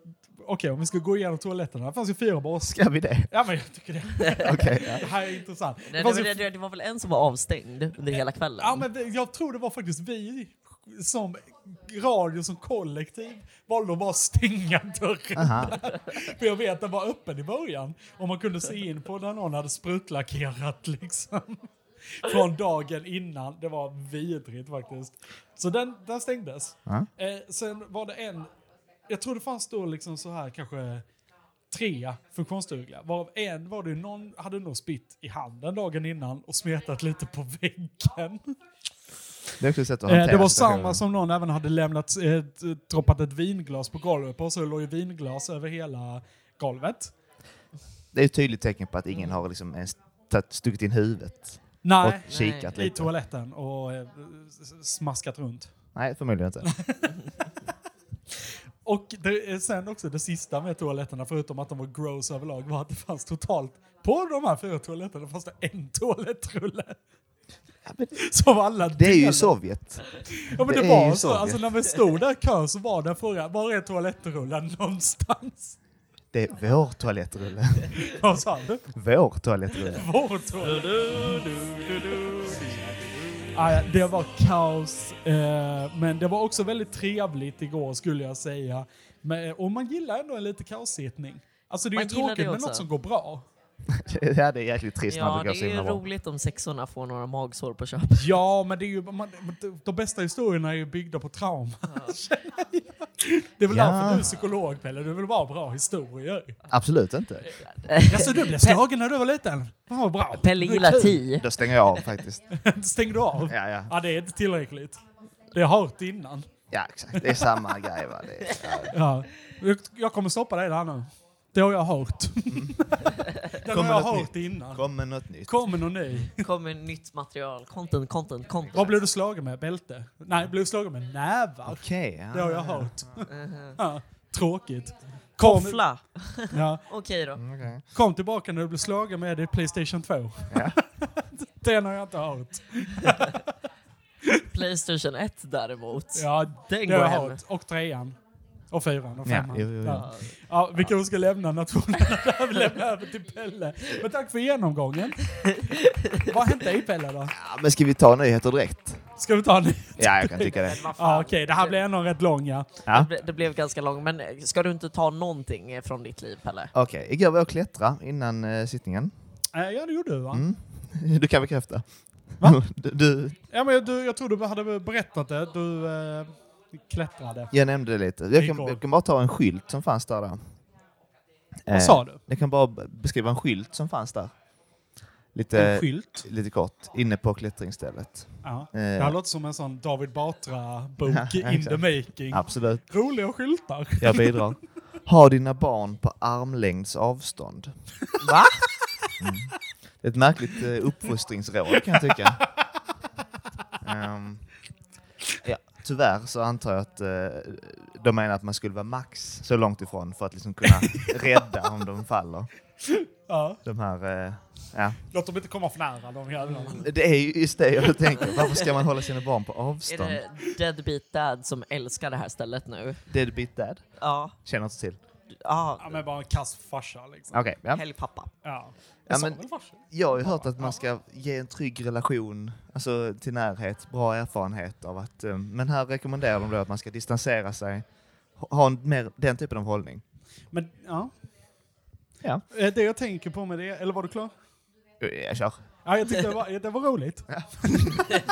Speaker 2: Okej, om vi ska gå igenom toaletterna. Det fanns ju fyra borstskåp.
Speaker 3: Ska vi det?
Speaker 2: Ja, men jag tycker det.
Speaker 3: Okej.
Speaker 2: Det här är intressant.
Speaker 10: Nej,
Speaker 2: Det
Speaker 10: det,
Speaker 2: fanns
Speaker 10: var,
Speaker 2: ju,
Speaker 10: det, det var väl en som var avstängd under hela kvällen?
Speaker 2: ja, men det- jag tror det var faktiskt vi som radio som kollektiv valde att bara stänga dörren. (laughs) För jag vet, den var öppen i början. Och man kunde se in på när någon hade sprutlackerat liksom. från dagen innan. Det var vidrigt faktiskt. Så den, den stängdes.
Speaker 3: Ja.
Speaker 2: Eh, sen var det en, jag tror det fanns då liksom så här kanske tre funktionsdugliga. Varav en var det ju någon hade nog spitt i handen dagen innan och smetat lite på väggen.
Speaker 3: Det är också ett sätt att
Speaker 2: Eh,
Speaker 3: hantera
Speaker 2: det var
Speaker 3: situationen.
Speaker 2: samma som någon även hade lämnat, eh, t- droppat ett vinglas på golvet på så det låg ju vinglas över hela golvet.
Speaker 3: Det är ett tydligt tecken på att ingen har liksom ens tagit- stuckit in huvudet.
Speaker 2: Nej,
Speaker 3: Och kikat
Speaker 2: i
Speaker 3: lite.
Speaker 2: toaletten och eh, s- smaskat runt.
Speaker 3: Nej, förmodligen
Speaker 2: (laughs)
Speaker 3: inte.
Speaker 2: Och det, är sen också det sista med toaletterna, förutom att de var gross överlag, var att det fanns totalt, på de här fyra toaletterna fanns det en toalettrulle. (laughs) Som alla
Speaker 3: Det är ju
Speaker 2: delade.
Speaker 3: Sovjet.
Speaker 2: Ja men det,
Speaker 3: det är
Speaker 2: var
Speaker 3: ju
Speaker 2: så.
Speaker 3: Sovjet.
Speaker 2: Alltså när vi stod där i kö så var den frågan, var är toalettrullen någonstans? (laughs)
Speaker 3: Det är vår toalettrulle.
Speaker 2: Vad sa du?
Speaker 3: Vår toalettrulle.
Speaker 2: Vår toalett. Ah, ja, det var kaos, eh, men det var också väldigt trevligt igår skulle jag säga. Men, eh, och man gillar ändå en lite kaossittning. Alltså det är
Speaker 10: Man
Speaker 2: ju
Speaker 10: gillar
Speaker 2: tråkigt
Speaker 10: det
Speaker 2: med
Speaker 10: också.
Speaker 2: något som går bra.
Speaker 3: (laughs) Ja, det är jäkligt trist när
Speaker 10: Ja,
Speaker 3: det
Speaker 10: det
Speaker 3: går så
Speaker 10: är ju
Speaker 3: himla bra.
Speaker 10: roligt om sexorna får några magsår
Speaker 2: (laughs)
Speaker 10: på köpet.
Speaker 2: Ja, men det är ju, man, de bästa historierna är ju byggda på trauma. (laughs) känner jag. det är väl
Speaker 3: Ja.
Speaker 2: därför du är psykolog Pelle, du vill bara ha bra historier.
Speaker 3: Absolut
Speaker 10: (laughs)
Speaker 3: inte.
Speaker 2: Alltså du blev slagen när du var liten? Fan vad bra.
Speaker 10: Pelle gillar
Speaker 2: Kul.
Speaker 10: ti.
Speaker 3: Då stänger jag av faktiskt.
Speaker 2: Stängde du av?
Speaker 3: Ja, ja.
Speaker 2: Ja, det är inte tillräckligt. Det har jag hört innan.
Speaker 3: Ja, exakt. Det är samma grej va. Det är, ja.
Speaker 2: Ja. Jag- Jag kommer stoppa dig där nu. Det har jag hört. (laughs) Den
Speaker 3: Mm. Kommer
Speaker 2: har jag
Speaker 3: något
Speaker 2: hört innan.
Speaker 3: Kom med något nytt.
Speaker 2: Kommer någon ny?
Speaker 10: kommer nytt material. Content, content, content.
Speaker 2: Vad blev du slagen med? Bälte? Nej, blev du slagen med nävar?
Speaker 3: Okej.
Speaker 2: Det har jag
Speaker 3: ja.
Speaker 2: hört.
Speaker 3: Uh-huh.
Speaker 2: Ja, tråkigt. Kom,
Speaker 10: Koffla.
Speaker 2: ja,
Speaker 10: Okej då.
Speaker 3: Okej.
Speaker 2: kom tillbaka när du blev slagen med det i Playstation 2. (laughs)
Speaker 3: Ja.
Speaker 2: Den har jag inte hört.
Speaker 10: Playstation 1 däremot.
Speaker 2: Ja,
Speaker 10: Den
Speaker 2: det har
Speaker 10: går
Speaker 2: jag
Speaker 10: hem.
Speaker 2: hört. Och trean. Och fyran och
Speaker 3: Ja,
Speaker 2: femman.
Speaker 3: jo, jo, jo.
Speaker 2: Ja. Ja, vi kanske ska lämna nationen (laughs) och lämna över till Pelle. Men tack för genomgången. Vad har hänt dig Pelle då?
Speaker 3: Ja, men ska vi ta nyheter direkt?
Speaker 2: Ska vi ta en ny?
Speaker 3: Ja, jag kan tycka
Speaker 10: (laughs)
Speaker 3: det.
Speaker 2: Ja, okej, det här blir ändå rätt lång ja.
Speaker 3: Ja.
Speaker 10: Det ble- Det blev ganska långt, men ska du inte ta någonting eh, från ditt liv, Pelle?
Speaker 3: Okej, igår var jag och klättra innan eh, sittningen. (laughs)
Speaker 2: Eh, Ja, det gjorde du va?
Speaker 3: Du kan bekräfta.
Speaker 2: Va?
Speaker 3: (laughs) Du, du,
Speaker 2: Ja, men du, jag tror du hade berättat det. Du eh, klättrade.
Speaker 3: jag nämnde det lite. Jag kan,
Speaker 2: Igår.
Speaker 3: jag kan bara ta en skylt som fanns där. då. Eh,
Speaker 2: Vad sa du?
Speaker 3: Jag kan bara b- beskriva en skylt som fanns där.
Speaker 2: En
Speaker 3: Lite,
Speaker 2: skylt?
Speaker 3: lite kort, inne på klättringsstället.
Speaker 2: Ja. Det
Speaker 3: Eh,
Speaker 2: här låter som en sån David Batra-bok
Speaker 3: Ja,
Speaker 2: in the
Speaker 3: exakt.
Speaker 2: making. (laughs)
Speaker 3: Absolut,
Speaker 2: Roliga skyltar.
Speaker 3: jag bidrar. Ha dina barn på armlängds avstånd. Va? Mm. Det är ett märkligt eh, uppfostringsråd kan jag tycka. Ehm, ja, tyvärr så antar jag att eh, de menar att man skulle vara max så långt ifrån för att
Speaker 2: (laughs)
Speaker 3: liksom kunna rädda om de faller.
Speaker 2: Ja.
Speaker 3: De här, eh, ja.
Speaker 2: Låt dem inte komma för nära de jävlarna.
Speaker 3: Det är ju just det jag tänker. Varför ska man hålla sina barn på
Speaker 10: Är
Speaker 3: avstånd?
Speaker 10: det Deadbeat Dad som älskar det här stället nu?
Speaker 3: Deadbeat Dad?
Speaker 10: Ja.
Speaker 3: Känner inte till.
Speaker 10: ja.
Speaker 2: Ja, men bara en kass farsa liksom.
Speaker 3: Okej, ja.
Speaker 10: Helgpappa.
Speaker 2: Ja.
Speaker 3: Ja,
Speaker 2: Jag sa
Speaker 3: men-
Speaker 2: väl farsa?
Speaker 3: Jag har ju hört att man ska ge en trygg relation, alltså till närhet, bra erfarenhet av att... eh, Men här rekommenderar de då att man ska distansera sig, ha ha en, mer den typen av hållning.
Speaker 2: Men, ja.
Speaker 3: Ja.
Speaker 2: Eh, Det jag tänker på med det, eller var du klar?
Speaker 3: Eh, Jag kör.
Speaker 2: Ja, jag tyckte det var, eh, det var roligt.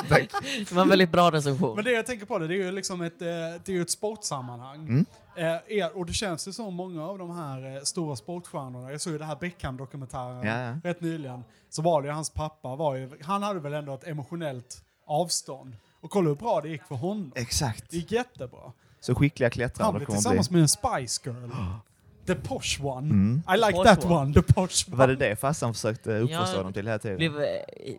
Speaker 3: Tack.
Speaker 10: Det var en väldigt bra recension.
Speaker 2: Men det jag tänker på det, det är ju liksom ett, eh, det är ju ett sportsammanhang.
Speaker 3: Mm.
Speaker 2: Eh, är- Och det känns ju som många av de här eh, stora sportstjärnorna, jag såg ju det här Beckham-dokumentären
Speaker 3: Ja, ja.
Speaker 2: rätt nyligen, så var det ju hans pappa, var ju, han hade väl ändå ett emotionellt avstånd. Och kolla hur bra det gick för honom.
Speaker 3: Exakt.
Speaker 2: Det gick jättebra.
Speaker 3: Så skickliga
Speaker 2: Han
Speaker 3: klättrare de
Speaker 2: blev
Speaker 3: kommer att
Speaker 2: tillsammans
Speaker 3: bli. Mm.
Speaker 2: med en Spice
Speaker 3: (gasps)
Speaker 2: Girl. The posh one. I like
Speaker 10: posh
Speaker 2: that
Speaker 10: one.
Speaker 2: one. The posh one.
Speaker 3: Var det det farsan försökte uppfostra
Speaker 10: Ja,
Speaker 3: dem till hela
Speaker 2: Typ.
Speaker 3: tiden?
Speaker 10: Blev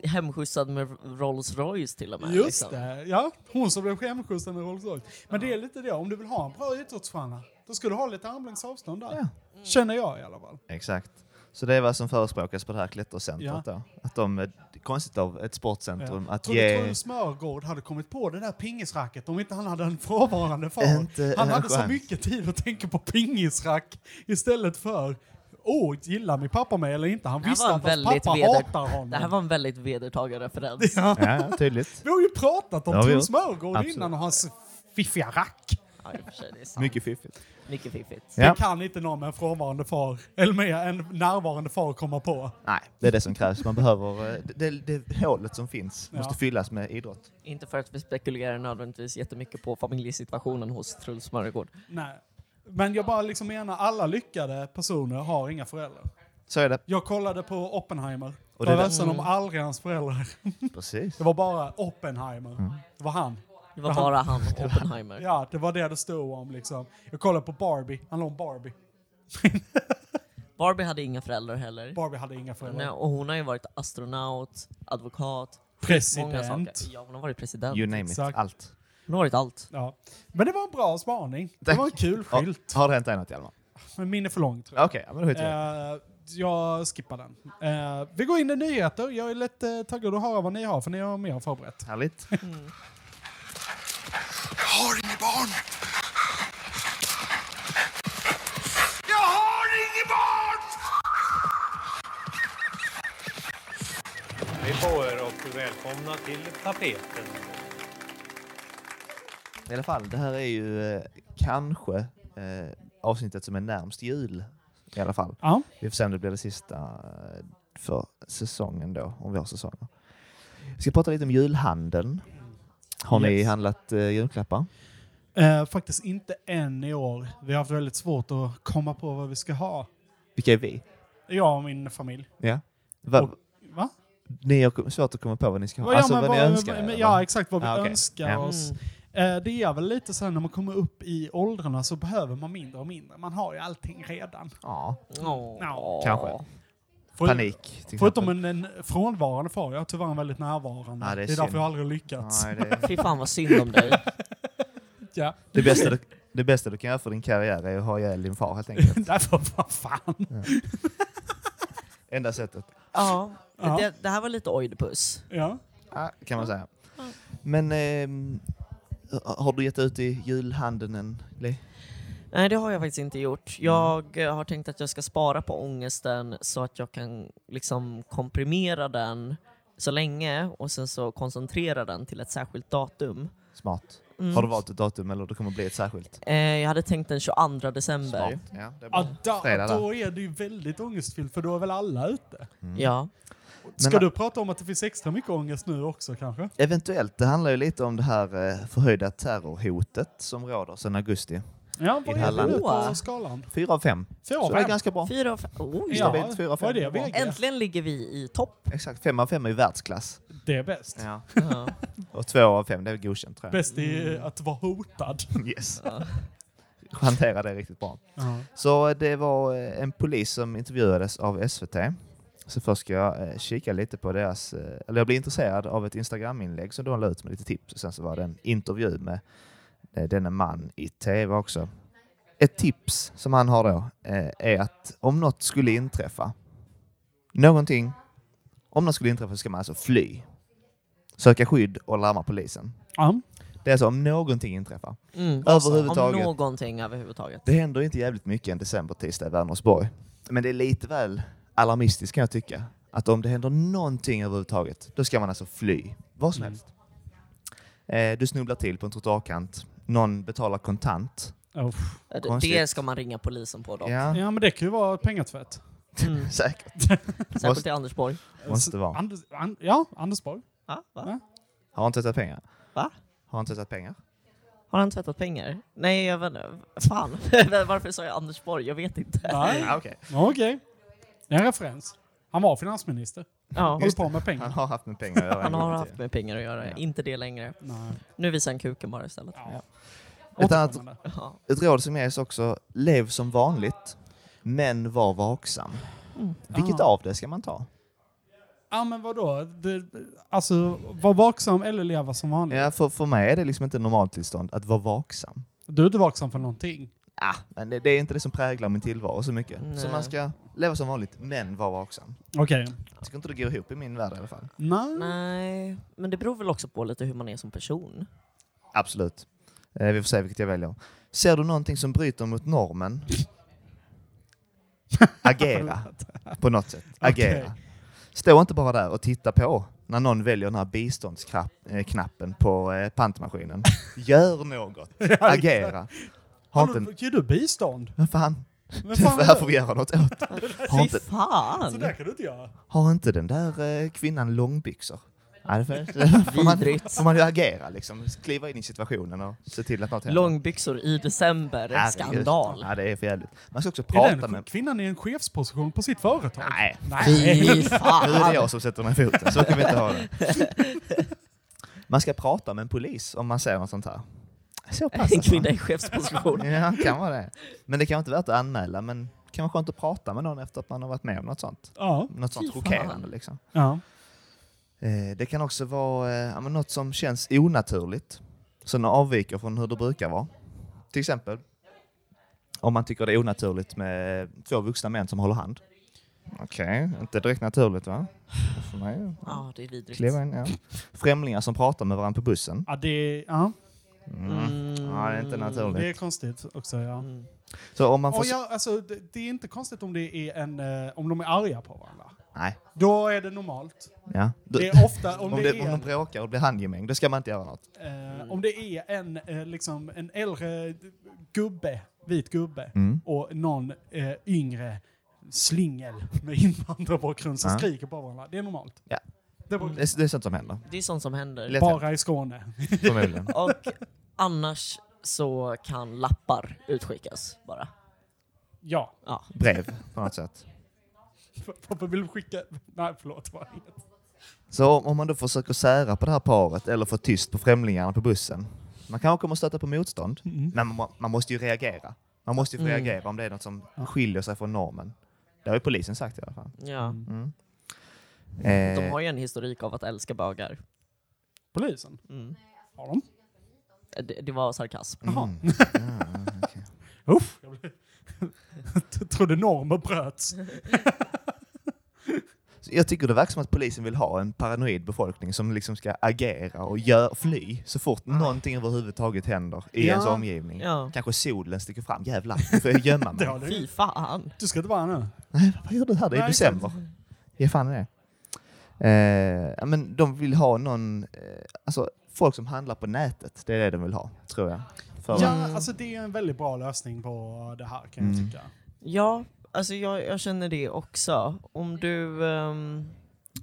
Speaker 10: eh, hemskjutsad med Rolls Royce till och med.
Speaker 2: Just
Speaker 10: liksom.
Speaker 2: det, ja. Hon som blev skämskjutsad med Rolls Royce. Men det är lite det, om du vill ha en bra idrottsstjärna, då ska du ha lite armlängds avstånd där. Känner jag i alla fall.
Speaker 3: Exakt. Så det är vad som förespråkas på det här klättercentret
Speaker 2: Ja.
Speaker 3: då? Att de, eh, konstigt av ett sportcentrum, att
Speaker 2: tror du
Speaker 3: ge...
Speaker 2: Trolle Smörgård hade kommit på det där pingisracket om inte han hade en frånvarande far?
Speaker 3: Inte
Speaker 2: han
Speaker 3: en
Speaker 2: hade så
Speaker 3: chans.
Speaker 2: mycket tid att tänka på pingisrack istället för Åh, gillar min pappa mig eller inte? Han
Speaker 10: Det här
Speaker 2: visste
Speaker 10: var
Speaker 2: att
Speaker 10: en
Speaker 2: hans
Speaker 10: väldigt
Speaker 2: pappa hatar
Speaker 10: veder...
Speaker 2: honom.
Speaker 10: Det här var en väldigt vedertagen referens.
Speaker 2: (laughs) ja.
Speaker 3: Ja, tydligt.
Speaker 2: Vi har ju pratat om
Speaker 3: Det har vi
Speaker 2: Trolle
Speaker 3: gjort.
Speaker 2: Smörgård
Speaker 3: Absolut.
Speaker 2: innan och hans fiffiga rack.
Speaker 10: Ja, i och för sig, det är sant.
Speaker 3: Mycket fiffigt.
Speaker 10: Mycket fiffigt.
Speaker 2: Det kan inte någon med en frånvarande far, eller med en närvarande far komma på.
Speaker 3: Nej, det är det som krävs. Man behöver, eh, det, det, det hålet som finns måste
Speaker 10: Ja.
Speaker 3: fyllas med idrott.
Speaker 10: Inte för att vi spekulerar nödvändigtvis jättemycket på familjesituationen hos Truls Smörgård.
Speaker 2: Nej. Men jag bara liksom menar, alla lyckade personer har inga föräldrar.
Speaker 3: Så är det.
Speaker 2: Jag kollade på Oppenheimer.
Speaker 3: Och
Speaker 2: Och
Speaker 3: det
Speaker 2: det
Speaker 3: är
Speaker 2: var
Speaker 3: det.
Speaker 2: ledsen om
Speaker 10: Mm.
Speaker 2: aldrig hans föräldrar.
Speaker 3: Precis.
Speaker 2: Det var bara Oppenheimer.
Speaker 3: Mm.
Speaker 2: Det var han.
Speaker 10: Det var bara han, Oppenheimer.
Speaker 2: (laughs) ja, det var det det stod om liksom. Jag kollade på Barbie. Han låg om Barbie.
Speaker 10: Barbie hade inga föräldrar heller.
Speaker 2: Barbie hade inga föräldrar.
Speaker 10: Nej, och hon har ju varit astronaut, advokat, många saker.
Speaker 2: President.
Speaker 10: Ja, hon har varit president.
Speaker 3: You name it. Allt.
Speaker 10: Hon har varit allt.
Speaker 2: Ja. Men det var en bra spaning. Det var en kul
Speaker 3: Ja,
Speaker 2: skylt.
Speaker 3: Har det hänt dig något Hjalmar?
Speaker 2: Men min är för lång tror
Speaker 3: jag. Okej, ja, men då skiter vi i
Speaker 2: Eh, jag skippar den. Eh, vi går in i nyheter. Jag är lite eh, taggad att höra vad ni har, för ni har mer förberett.
Speaker 3: Härligt.
Speaker 12: Jag har inget barn! Jag har inget barn!
Speaker 9: Hej på er och välkomna till tapeten.
Speaker 3: I alla fall, det här är ju eh, kanske eh, avsnittet som är närmst jul. I alla fall.
Speaker 2: Ja.
Speaker 3: Vi får se om det blir det sista eh, för säsongen då, om vi har säsonger. Vi ska prata lite om julhandeln. Har ni
Speaker 2: Yes.
Speaker 3: handlat eh, julklappar?
Speaker 2: Eh, faktiskt inte än i år. Vi har haft väldigt svårt att komma på vad vi ska ha.
Speaker 3: Vilka är vi?
Speaker 2: Jag och min familj.
Speaker 3: Ja. Va,
Speaker 2: Va?
Speaker 3: Ni har kom- svårt att komma på vad ni ska ha?
Speaker 2: Vad-
Speaker 3: alltså
Speaker 2: ja,
Speaker 3: vad
Speaker 2: men
Speaker 3: ni
Speaker 2: vad-
Speaker 3: önskar?
Speaker 2: men-
Speaker 3: eller?
Speaker 2: ja, exakt vad vi
Speaker 3: Ah, okej.
Speaker 2: önskar
Speaker 3: Ja.
Speaker 2: oss. Eh, Det är väl lite så här när man kommer upp i åldrarna så behöver man mindre och mindre. Man har ju allting redan.
Speaker 3: Ja.
Speaker 2: Ja.
Speaker 3: Kanske.
Speaker 2: För-
Speaker 3: Panik. till
Speaker 2: Förutom
Speaker 3: exempel.
Speaker 2: en, en frånvarande far. Jag är tyvärr en väldigt närvarande.
Speaker 3: Ja, det är
Speaker 2: det är,
Speaker 3: synd.
Speaker 2: därför jag aldrig lyckats.
Speaker 3: Nej, det- Fy
Speaker 10: fan vad synd
Speaker 2: (laughs)
Speaker 10: om dig.
Speaker 2: ja.
Speaker 3: det, bästa du, det bästa du kan göra för din karriär är att ha ihjäl din far
Speaker 2: (laughs)
Speaker 3: helt enkelt.
Speaker 2: Därför, vad fan.
Speaker 3: Enda sättet.
Speaker 10: Ja,
Speaker 3: Ja.
Speaker 10: Det, det här var lite Oidipus.
Speaker 2: Ja.
Speaker 3: kan man säga. Men ehm, har du gett ut i julhandeln än, Li?
Speaker 10: Nej, det har jag faktiskt inte
Speaker 3: Mm.
Speaker 10: gjort. Jag eh, har tänkt att jag ska spara på ångesten så att jag kan liksom komprimera den så länge och sen så koncentrera den till ett särskilt datum.
Speaker 3: Smart.
Speaker 10: Mm.
Speaker 3: Har du valt ett datum eller det kommer bli ett särskilt?
Speaker 10: Eh, jag hade tänkt den 22 december.
Speaker 3: Smart, ja, det är bra.
Speaker 2: Ja, då,
Speaker 3: Fredag där.
Speaker 2: då är det ju väldigt ångestfyllt för då är väl alla ute?
Speaker 3: Mm.
Speaker 10: Ja.
Speaker 2: Ska
Speaker 3: Men-
Speaker 2: du prata om att det finns extra mycket ångest nu också kanske?
Speaker 3: Eventuellt. Det handlar ju lite om det här eh, förhöjda terrorhotet som råder sedan augusti.
Speaker 2: Ja,
Speaker 3: I
Speaker 2: vad
Speaker 3: det här
Speaker 2: är det nu
Speaker 3: landet.
Speaker 2: på skalan?
Speaker 3: Fyra av fem.
Speaker 2: Fyra
Speaker 3: Så
Speaker 2: av
Speaker 3: det är
Speaker 2: fem.
Speaker 3: ganska bra.
Speaker 10: Fyra av fem. Oj.
Speaker 3: Stabilt, fyra av fem.
Speaker 10: Äntligen ligger vi i topp.
Speaker 3: Exakt, fem av fem är ju världsklass.
Speaker 2: Det är bäst.
Speaker 3: (laughs) Ja. Och två av fem, det är godkänt tror jag.
Speaker 2: Bäst är
Speaker 3: Mm.
Speaker 2: att vara hotad.
Speaker 3: Yes. hantera det riktigt bra.
Speaker 2: Ja.
Speaker 3: Så det var eh, en polis som intervjuades av SVT. Så först ska jag eh, kika lite på deras, eh, eller jag blev intresserad av ett Instagram-inlägg som de la ut med lite tips. Och sen så var det en intervju med eh, denna man i tv också. Ett tips som han har då eh, är att om något skulle inträffa, någonting, om något skulle inträffa så ska man alltså fly. Söka skydd och larma polisen.
Speaker 2: Ja.
Speaker 3: Det är alltså om någonting inträffar.
Speaker 10: Mm.
Speaker 3: Överhuvudtaget.
Speaker 10: Om någonting överhuvudtaget.
Speaker 3: Det händer inte jävligt mycket en decembertisdag i Vänersborg. Men det är lite väl alarmistiskt kan jag tycka. Att om det händer någonting överhuvudtaget, då ska man alltså fly. Vad som helst. Eh, du snubblar till på en trottoarkant. Någon betalar kontant.
Speaker 2: Oh.
Speaker 10: Eh, Det-
Speaker 3: Konstigt.
Speaker 10: Det ska man ringa polisen på dock.
Speaker 3: Ja.
Speaker 2: ja, men det kan ju vara pengatvätt.
Speaker 10: Mm.
Speaker 3: Säkert.
Speaker 10: Särskilt i Anders Borg.
Speaker 3: Måste det vara.
Speaker 2: Anders, an, ja, Anders Borg.
Speaker 10: Ja, va?
Speaker 3: Har han tvättat pengar?
Speaker 10: Va?
Speaker 3: Har han tvättat pengar?
Speaker 10: Har han tvättat pengar? Nej, jag vet inte. Fan, (laughs) varför sa jag Anders Borg? Jag vet inte.
Speaker 2: Nej.
Speaker 3: Ja, okej.
Speaker 2: Ja, okej. Det är en referens. Han var finansminister.
Speaker 10: Ja.
Speaker 2: Håller
Speaker 10: Just
Speaker 2: på
Speaker 10: det.
Speaker 2: med pengar.
Speaker 3: (laughs) Han har haft med pengar att göra
Speaker 10: Han
Speaker 3: en gång
Speaker 10: har
Speaker 3: i
Speaker 10: haft med pengar att göra, inte det längre.
Speaker 2: Nej.
Speaker 10: Nu visar han kuken bara istället.
Speaker 2: Ja.
Speaker 3: Ett, annat,
Speaker 10: Ja.
Speaker 3: ett råd som ges också, lev som vanligt, men var vaksam.
Speaker 2: Mm.
Speaker 3: Vilket
Speaker 2: Ah.
Speaker 3: av det ska man ta?
Speaker 2: Ja, men vadå? Det, alltså, var vaksam eller leva som vanligt.
Speaker 3: Ja, för, för mig är det liksom inte normaltillstånd att vara vaksam.
Speaker 2: Du är inte vaksam för någonting.
Speaker 3: Ah, men det, det är inte det som präglar min tillvaro så mycket. Så
Speaker 2: Nej.
Speaker 3: man ska leva som vanligt, men vara vaksam.
Speaker 2: Okej.
Speaker 3: Jag tycker inte det går ihop i min värld i alla fall.
Speaker 2: Nej.
Speaker 10: men det beror väl också på lite hur man är som person.
Speaker 3: Absolut. Eh, vi får se vilket jag väljer. Ser du någonting som bryter mot (laughs) normen? Agera på något sätt. Agera. Stå inte bara där och titta på. när någon väljer den här biståndsknappen på eh, (laughs) pantmaskinen. Gör något. Agera. Har inte en...
Speaker 2: Ger du bistånd?
Speaker 3: Men fan.
Speaker 2: Men
Speaker 3: Det
Speaker 2: fan.
Speaker 3: här får vi göra något
Speaker 2: (laughs)
Speaker 3: åt. Har inte,
Speaker 10: fan.
Speaker 2: Så där kan du inte göra.
Speaker 3: har inte den där eh, kvinnan långbyxor? Nej, det
Speaker 10: (laughs)
Speaker 3: får, det får, man,
Speaker 10: Vidrigt.
Speaker 3: får man ju agera liksom. Kliva in i situationen och se till att något händer.
Speaker 10: Långbyxor i december,
Speaker 3: Herregud.
Speaker 10: skandal.
Speaker 3: Ja, det är för jävligt. Man ska också
Speaker 2: Är
Speaker 3: prata
Speaker 2: den
Speaker 3: med...
Speaker 2: kvinnan i en chefsposition på sitt företag?
Speaker 3: Nej.
Speaker 2: Nej.
Speaker 3: Nu är det jag som sätter ner foten, så kan vi inte ha
Speaker 10: (laughs)
Speaker 3: det. Man ska prata med en polis om man ser något sånt här. Så
Speaker 10: (laughs)
Speaker 3: pass
Speaker 10: En
Speaker 3: alltså.
Speaker 10: kvinna
Speaker 3: (laughs)
Speaker 10: i chefsposition.
Speaker 3: Ja, kan vara det. Men det kan vara inte värt att anmäla, men det kan vara skönt att prata med någon efter att man har varit med om något sånt.
Speaker 2: Ja.
Speaker 3: Något sånt
Speaker 10: Fy fan.
Speaker 3: chockerande liksom.
Speaker 2: Ja.
Speaker 3: Eh, Det kan också vara eh, ja, men något som känns onaturligt, som avviker från hur det brukar vara. Till exempel om man tycker det är onaturligt med två vuxna män som håller hand. Okej, inte direkt naturligt va? För mig.
Speaker 10: Ja, det är vidrigt.
Speaker 3: Kliva in, ja. (laughs) Främlingar som pratar med varandra på bussen.
Speaker 2: Ja, det, ja.
Speaker 3: Mm. Ja, det är inte
Speaker 2: det är
Speaker 3: naturligt.
Speaker 2: konstigt också. Ja.
Speaker 3: Så om man får...
Speaker 2: Och ja, alltså, det, det är inte konstigt om, det är en, eh, om de är arga på varandra.
Speaker 3: Nej.
Speaker 2: Då är det normalt.
Speaker 3: Ja. Du-
Speaker 2: Det är ofta om,
Speaker 3: om,
Speaker 2: det,
Speaker 3: det, om
Speaker 2: är,
Speaker 3: de bråkar och blir handgemäng, då ska man inte göra något. Mm.
Speaker 2: eh, om det är en, eh, liksom, en äldre gubbe, vit gubbe,
Speaker 3: Mm.
Speaker 2: och någon eh, yngre slingel med invandrarbakgrund som
Speaker 3: Ja.
Speaker 2: skriker på varandra. Det är normalt.
Speaker 3: Ja.
Speaker 2: Det är bara-
Speaker 3: Det är, det är sånt som händer.
Speaker 10: Det är sånt som händer.
Speaker 3: Lätt
Speaker 2: bara i Skåne. (laughs)
Speaker 3: Förmodligen.
Speaker 10: Och annars så kan lappar utskickas bara.
Speaker 2: Ja.
Speaker 10: Ja.
Speaker 3: Brev på något sätt.
Speaker 2: Pappa vill skicka... Nej, förlåt. Vad heter det?
Speaker 3: Så om, om man då försöker sära på det här paret eller få tyst på främlingarna på bussen. Man kanske kommer stöta på motstånd, men man, må- man måste ju reagera. Man måste ju få
Speaker 10: Mm.
Speaker 3: reagera om det är något som skiljer sig från normen. Det har ju polisen sagt i alla fall.
Speaker 10: ja.
Speaker 3: Mm.
Speaker 10: De
Speaker 3: Eh,
Speaker 10: har ju en historik av att älska bögar.
Speaker 2: Polisen?
Speaker 10: Mm.
Speaker 2: Har de?
Speaker 10: Eh, Det, det var sarkasm.
Speaker 2: Jaha.
Speaker 3: Mm.
Speaker 2: Uff, jag blev- (laughs) Jag trodde normer bröts.
Speaker 3: (laughs) så jag tycker det verkar som att polisen vill ha en paranoid befolkning som liksom ska agera och gör, fly så fort någonting överhuvudtaget händer i
Speaker 2: Ja.
Speaker 3: ens omgivning.
Speaker 10: Ja.
Speaker 3: Kanske solen sticker fram. Jävlar, nu får jag
Speaker 10: (laughs)
Speaker 3: gömma
Speaker 2: Det
Speaker 3: mig.
Speaker 2: har
Speaker 10: Fy
Speaker 2: du.
Speaker 10: fan.
Speaker 2: Du ska inte vara här nu.
Speaker 3: Nej, vad gör du här? Det är
Speaker 2: Nej,
Speaker 3: december. Ge fan i det. Eh, ja, men de vill ha någon, eh, alltså folk som handlar på nätet, det är det de vill ha, tror jag. För,
Speaker 2: Ja, alltså det är en väldigt bra lösning på det här kan jag
Speaker 3: Mm.
Speaker 2: tycka.
Speaker 10: Ja, alltså jag, jag känner det också. Om du, ehm,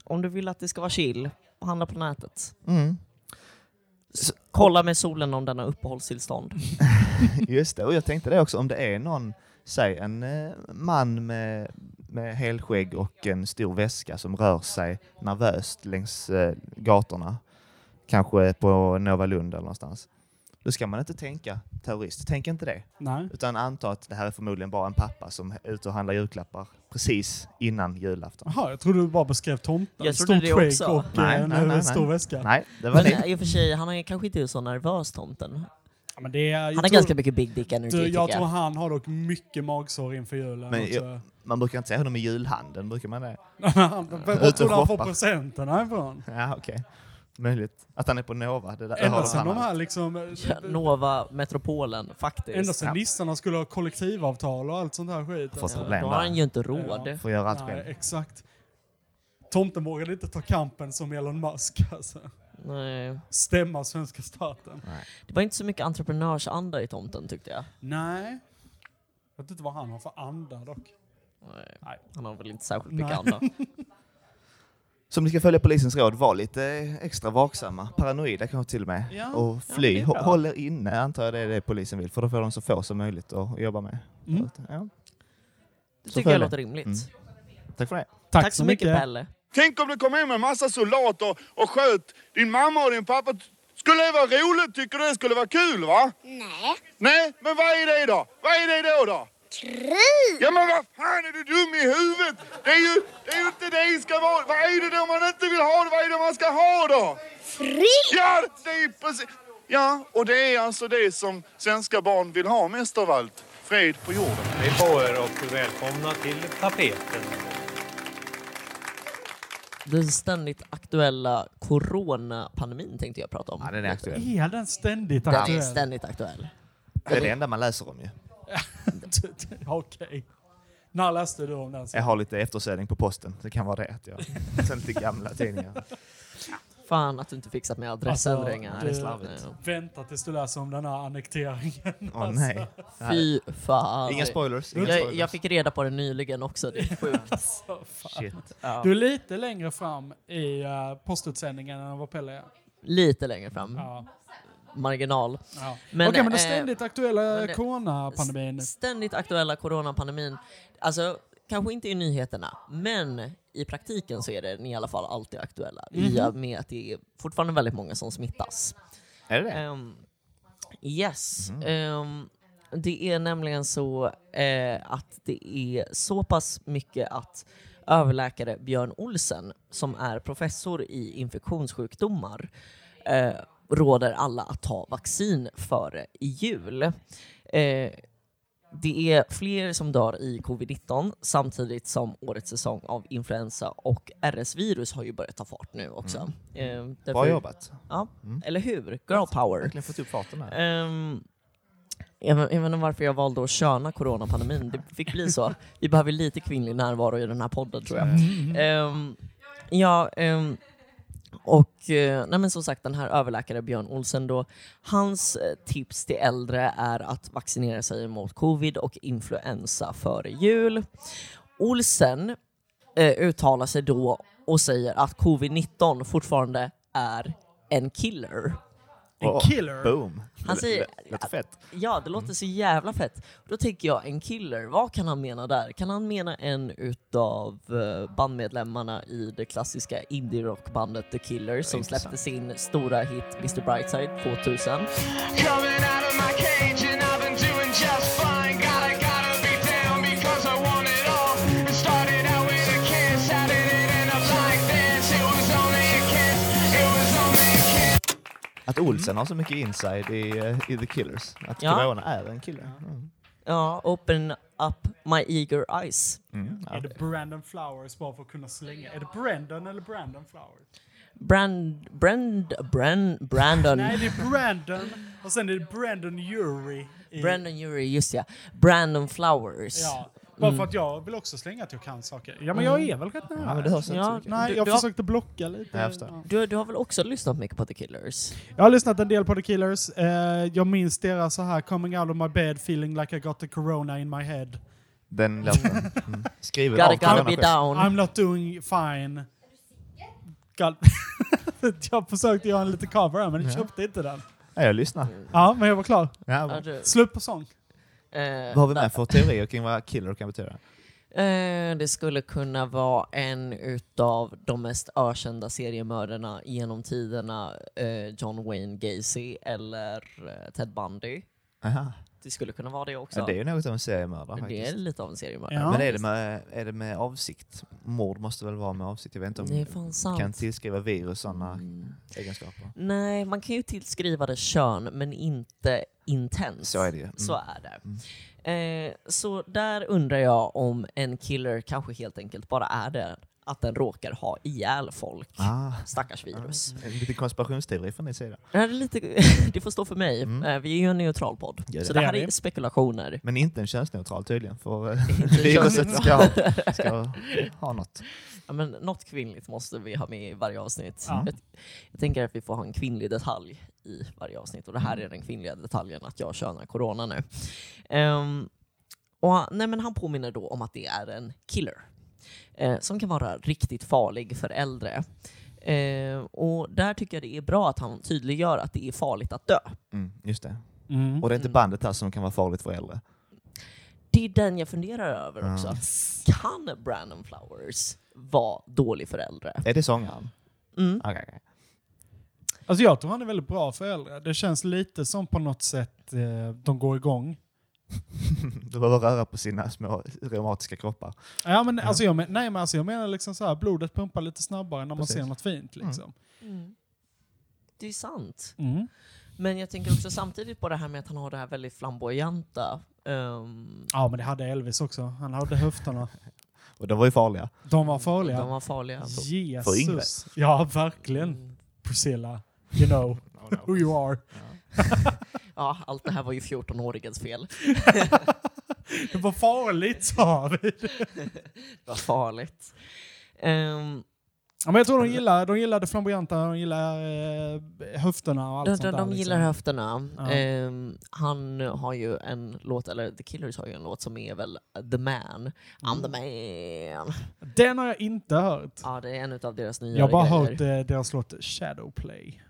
Speaker 10: om du vill att det ska vara chill, handla på nätet.
Speaker 3: Mm, (laughs)
Speaker 10: Kolla med solen om den har uppehållstillstånd.
Speaker 3: just det, och jag tänkte det också, om det är någon, säg en eh, man med, med helskägg och en stor väska som rör sig nervöst längs eh, gatorna, kanske på Nova Lund eller någonstans. Då ska man inte tänka terrorist, tänk inte det.
Speaker 2: Nej.
Speaker 3: Utan anta att det här är förmodligen bara en pappa som är ute och handlar julklappar precis innan julafton.
Speaker 2: Jaha, jag trodde du bara beskrev tomten.
Speaker 10: Jag trodde
Speaker 2: Stort
Speaker 10: det
Speaker 2: skägg
Speaker 10: också.
Speaker 2: och
Speaker 3: Nej,
Speaker 2: eh, en
Speaker 3: nej, nej, nej.
Speaker 2: stor väska.
Speaker 3: Nej, det
Speaker 10: (laughs)
Speaker 3: var
Speaker 10: Men
Speaker 3: det.
Speaker 10: i och för sig, han är kanske inte så nervös tomten.
Speaker 2: Ja, men det är, jag
Speaker 10: Han har
Speaker 2: tror-
Speaker 10: ganska mycket big dick energy
Speaker 2: du,
Speaker 10: tycker
Speaker 2: Jag tror
Speaker 10: jag.
Speaker 2: han har dock mycket magsår inför julen.
Speaker 3: Men jag-
Speaker 2: också.
Speaker 3: Man brukar inte säga honom i julhandeln, brukar man det?
Speaker 2: (laughs) Han- Var
Speaker 3: Ut och
Speaker 2: tror du han får
Speaker 3: shoppar.
Speaker 2: presenterna ifrån?
Speaker 3: Ja, okej. Möjligt. Att han är på Nova. Det där, det har
Speaker 2: Ända
Speaker 3: de
Speaker 2: sedan de
Speaker 3: annan.
Speaker 2: här liksom...
Speaker 10: Ja, Nova Metropolen faktiskt.
Speaker 2: Ända sedan
Speaker 3: Ja.
Speaker 2: nissarna skulle ha kollektivavtal och allt sånt här skit.
Speaker 3: Fått
Speaker 2: alltså.
Speaker 3: problem
Speaker 10: Då har
Speaker 3: där.
Speaker 10: han ju inte råd.
Speaker 3: Får göra allt
Speaker 2: Nej,
Speaker 3: själv.
Speaker 2: exakt. Tomten vågade inte ta kampen som Elon Musk. (laughs) Alltså.
Speaker 10: Nej.
Speaker 2: Stämma svenska staten.
Speaker 10: Det var inte så mycket entreprenörsanda i tomten tyckte jag.
Speaker 2: Nej. Jag vet inte vad han har för anda dock.
Speaker 10: Nej.
Speaker 2: Nej.
Speaker 10: Han har väl inte särskilt mycket
Speaker 2: Nej.
Speaker 10: anda.
Speaker 3: Så om ni ska följa polisens råd, var lite extra vaksamma. Paranoida kanske till och med.
Speaker 2: Ja,
Speaker 3: och fly. Hå- Håll er inne, antar jag det är det polisen vill. För då får de så få som möjligt att jobba med.
Speaker 2: Mm.
Speaker 3: Ja.
Speaker 10: Det
Speaker 3: Så
Speaker 10: tycker jag
Speaker 3: följer.
Speaker 10: låter rimligt.
Speaker 3: Mm. Tack för det.
Speaker 10: Tack, så mycket, Pelle.
Speaker 12: Tänk om det kom hem en massa soldater och sköt din mamma och din pappa. Skulle det vara roligt? Tycker du det skulle vara kul va?
Speaker 13: Nej.
Speaker 12: Nej, men vad är det då? Vad är det då då?
Speaker 13: Krig!
Speaker 12: Ja men vad fan är du dum i huvudet? Det är ju, det är ju inte det det ska vara. Vad är det då man inte vill ha? Vad är det man ska ha då?
Speaker 13: Fri!
Speaker 12: Ja, det är precis. Ja, och det är alltså det som svenska barn vill ha mest av allt. Fred på jorden.
Speaker 9: Hej på er och välkomna till tapeten.
Speaker 10: Den ständigt aktuella coronapandemin tänkte jag prata om.
Speaker 3: Ja, den är aktuell.
Speaker 2: Är den ständigt
Speaker 10: Den är
Speaker 2: aktuell?
Speaker 10: ständigt aktuell.
Speaker 3: Det är det enda man läser om ju.
Speaker 2: (laughs) Okej. När läste du om den?
Speaker 3: Jag har lite eftersäljning på posten. Det kan vara det. Att jag
Speaker 10: (laughs)
Speaker 3: sänt till gamla tidningar.
Speaker 10: Fan att du inte fixat med adressen,
Speaker 2: Alltså,
Speaker 10: Renga.
Speaker 2: du- Vänta tills du läser om den här annekteringen.
Speaker 3: Åh, nej.
Speaker 10: Alltså, Fy fan.
Speaker 3: Inga spoilers, inga
Speaker 10: Jag,
Speaker 3: spoilers.
Speaker 10: jag fick reda på det nyligen också. Det är sjukt. Shit. Ja.
Speaker 2: Du är lite längre fram i uh, postutsändningen än vad Pelle är.
Speaker 10: Mm. Lite längre fram. Marginal.
Speaker 2: Ja. Okej, men den ständigt aktuella
Speaker 10: eh, men det-
Speaker 2: coronapandemin.
Speaker 10: ständigt aktuella coronapandemin. Alltså, kanske inte i nyheterna, men i praktiken så är den i alla fall alltid aktuella. I
Speaker 13: Mhm.
Speaker 10: och med att det är fortfarande väldigt många som smittas.
Speaker 3: Är det Mm. det?
Speaker 10: Ehm, yes. Ehm, det är nämligen så eh, att det är så pass mycket att överläkare Björn Olsen, som är professor i infektionssjukdomar, eh, råder alla att ta vaccin före i jul. Eh, det är fler som dör i covid-19 samtidigt som årets säsong av influensa och RS-virus har ju börjat ta fart nu också.
Speaker 3: Mm.
Speaker 10: Eh,
Speaker 3: Bra
Speaker 10: därför-
Speaker 3: jobbat.
Speaker 10: Ja, eller hur? Girl power.
Speaker 3: Verkligen fått upp farten här.
Speaker 10: Ehm, jag, vet- jag vet inte varför jag valde att köna coronapandemin. Det fick bli så. Vi behöver lite kvinnlig närvaro i den här podden tror jag. Ehm, ja, ehm, och eh, nej men som sagt den här överläkare Björn Olsen då, hans eh, tips till äldre är att vaccinera sig mot covid och influensa före jul. Olsen eh, uttalar sig då och säger att covid-19 fortfarande är en killer.
Speaker 3: En killer? Boom.
Speaker 10: Han
Speaker 3: Det
Speaker 10: säger,
Speaker 3: lät- lät fett.
Speaker 10: Ja, det
Speaker 2: Mm.
Speaker 10: låter så jävla fett. Då tänker jag, en killer, vad kan han mena där? Kan han mena en utav eh, bandmedlemmarna i det klassiska indie-rockbandet The Killer som släppte sin stora hit Mr Brightside 2000?
Speaker 12: Coming out of my cage and I've been doing just fine. Gotta, gotta be down because I want it all. It started out with a kiss, how did it end up like this? It was only a kiss, it was only a kiss.
Speaker 3: Att Olsen har så mycket inside i, eh, i The Killers. Att
Speaker 10: Ja.
Speaker 3: corona är en kille. Mm.
Speaker 10: Ja, Open Up My Eager Eyes.
Speaker 2: Är det Brandon Flowers bara för att kunna slänga? Är det Brandon eller Brandon Flowers?
Speaker 10: Brand, Brand, Brand, Brandon.
Speaker 2: Nej, det är Brandon och sen är det Brandon Urie. i-
Speaker 10: Brandon Urie, just ja. Brandon Flowers.
Speaker 2: Ja, bara
Speaker 10: Mm.
Speaker 2: för att jag vill också slänga att jag kan saker. Ja, men jag är väl rätt nära.
Speaker 10: Ja, Mm. men det hörs inte så mycket.
Speaker 2: Nej,
Speaker 10: Du-
Speaker 2: jag
Speaker 10: du har-
Speaker 2: försökte blocka lite. Ja.
Speaker 10: Du, du har väl också lyssnat mycket på The Killers?
Speaker 2: Jag har lyssnat en del på The Killers. Eh, jag minns deras så här Coming out of my bed feeling like I got the corona in my head.
Speaker 3: Den låten. Mm. Skriven
Speaker 10: Gotta-
Speaker 3: av
Speaker 10: gotta
Speaker 3: corona
Speaker 10: be
Speaker 3: själv.
Speaker 10: down.
Speaker 2: I'm not doing fine. God. (laughs) jag försökte göra en liten cover här, men jag
Speaker 3: Ja.
Speaker 2: köpte inte den.
Speaker 3: Ja, jag lyssnar.
Speaker 2: Ja, men jag var klar.
Speaker 3: Ja,
Speaker 10: Mm.
Speaker 3: bra.
Speaker 2: Slut på sång.
Speaker 3: Vad har vi med för teorier kring vad killer kan betyda?
Speaker 10: Eh, Det skulle kunna vara en utav de mest ökända seriemördarna genom tiderna, eh, John Wayne Gacy eller eh, Ted Bundy.
Speaker 3: Aha.
Speaker 10: Det skulle kunna vara det också.
Speaker 3: Ja, det är ju något av en seriemördare
Speaker 10: Det
Speaker 3: faktiskt.
Speaker 10: är lite av en seriemördare.
Speaker 3: Men är det, med, är det med avsikt? Mord måste väl vara med avsikt? Jag vet inte om
Speaker 10: Det är fan Mm. sant.
Speaker 3: kan tillskriva virus sådana egenskaper.
Speaker 10: Nej, man kan ju tillskriva det kön, men inte intens.
Speaker 3: Så är det ju. Mm.
Speaker 10: Så är det. Eh, så där undrar jag om en killer kanske helt enkelt bara är det. Att den råkar ha ihjäl folk.
Speaker 3: Ah.
Speaker 10: Stackars virus.
Speaker 3: En liten konspirationsteori från din sida.
Speaker 10: Det, här är lite, (laughs) det får stå för mig. Eh, Vi är ju en neutral podd.
Speaker 3: Mm. Ja, det
Speaker 10: så det
Speaker 3: är
Speaker 10: här
Speaker 3: vi. (laughs)
Speaker 10: är spekulationer.
Speaker 3: Men inte en könsneutral tydligen, för eh,
Speaker 10: Inte
Speaker 3: viruset ska,
Speaker 10: könsneutral.
Speaker 3: ska ha något.
Speaker 10: Ja, men något kvinnligt måste vi ha med i varje avsnitt.
Speaker 3: Ja.
Speaker 10: Jag, jag tänker att vi får ha en kvinnlig detalj i varje avsnitt. Och det
Speaker 3: Mm.
Speaker 10: här är den kvinnliga detaljen, att jag könar corona nu. Ehm, och han, nej, men han påminner då om att det är en killer. eh, som kan vara riktigt farlig för äldre. Eh, och där tycker jag det är bra att han tydliggör att det är farligt att dö.
Speaker 3: Mm, just det.
Speaker 2: Mm.
Speaker 3: Och det är inte bandet här som kan vara farligt för äldre.
Speaker 10: Det är den jag funderar över
Speaker 3: Ja.
Speaker 10: också. Kan Brandon Flowers vara dålig för äldre?
Speaker 3: Är det sångaren?
Speaker 10: Mm.
Speaker 3: Okej, okej. (laughs)
Speaker 2: Alltså jag tror han är väldigt bra för äldre. Det känns lite som på något sätt eh, de går igång.
Speaker 3: Du behöver röra på sina små reumatiska kroppar.
Speaker 2: Ja, men, Alltså jag, men, nej, men alltså jag menar liksom så här, blodet pumpar lite snabbare när man
Speaker 3: Precis.
Speaker 2: ser något fint. Liksom.
Speaker 10: Det är sant.
Speaker 2: Mm.
Speaker 10: Men jag tänker också samtidigt på det här med att han har det här väldigt flamboyanta. ehm,
Speaker 2: Ja, men det hade Elvis också. Han hade höfterna.
Speaker 3: Och de var ju farliga.
Speaker 2: De var farliga.
Speaker 10: De var farliga. Mm.
Speaker 3: För yngre.
Speaker 2: Jesus. Ja, verkligen. Priscilla, you know who you are.
Speaker 10: ja, allt det här var ju 14-åringens fel.
Speaker 2: Det var farligt sa vi.
Speaker 10: Vad farligt. Ehm,
Speaker 2: Ja, men jag tror de gillar, de gillar det flamboyanta, de gillar eh, höfterna och allt
Speaker 10: de,
Speaker 2: sånt
Speaker 10: de,
Speaker 2: där.
Speaker 10: de gillar
Speaker 2: liksom.
Speaker 10: höfterna.
Speaker 2: Ja.
Speaker 10: Ehm, han har ju en låt, eller The Killers har ju en låt som är väl The Man.
Speaker 2: Mm.
Speaker 10: I'm the man.
Speaker 2: Den har jag inte hört.
Speaker 10: Ja, det är en av deras nyare
Speaker 2: Jag har bara
Speaker 10: grejer.
Speaker 2: hört eh, deras låt Shadowplay.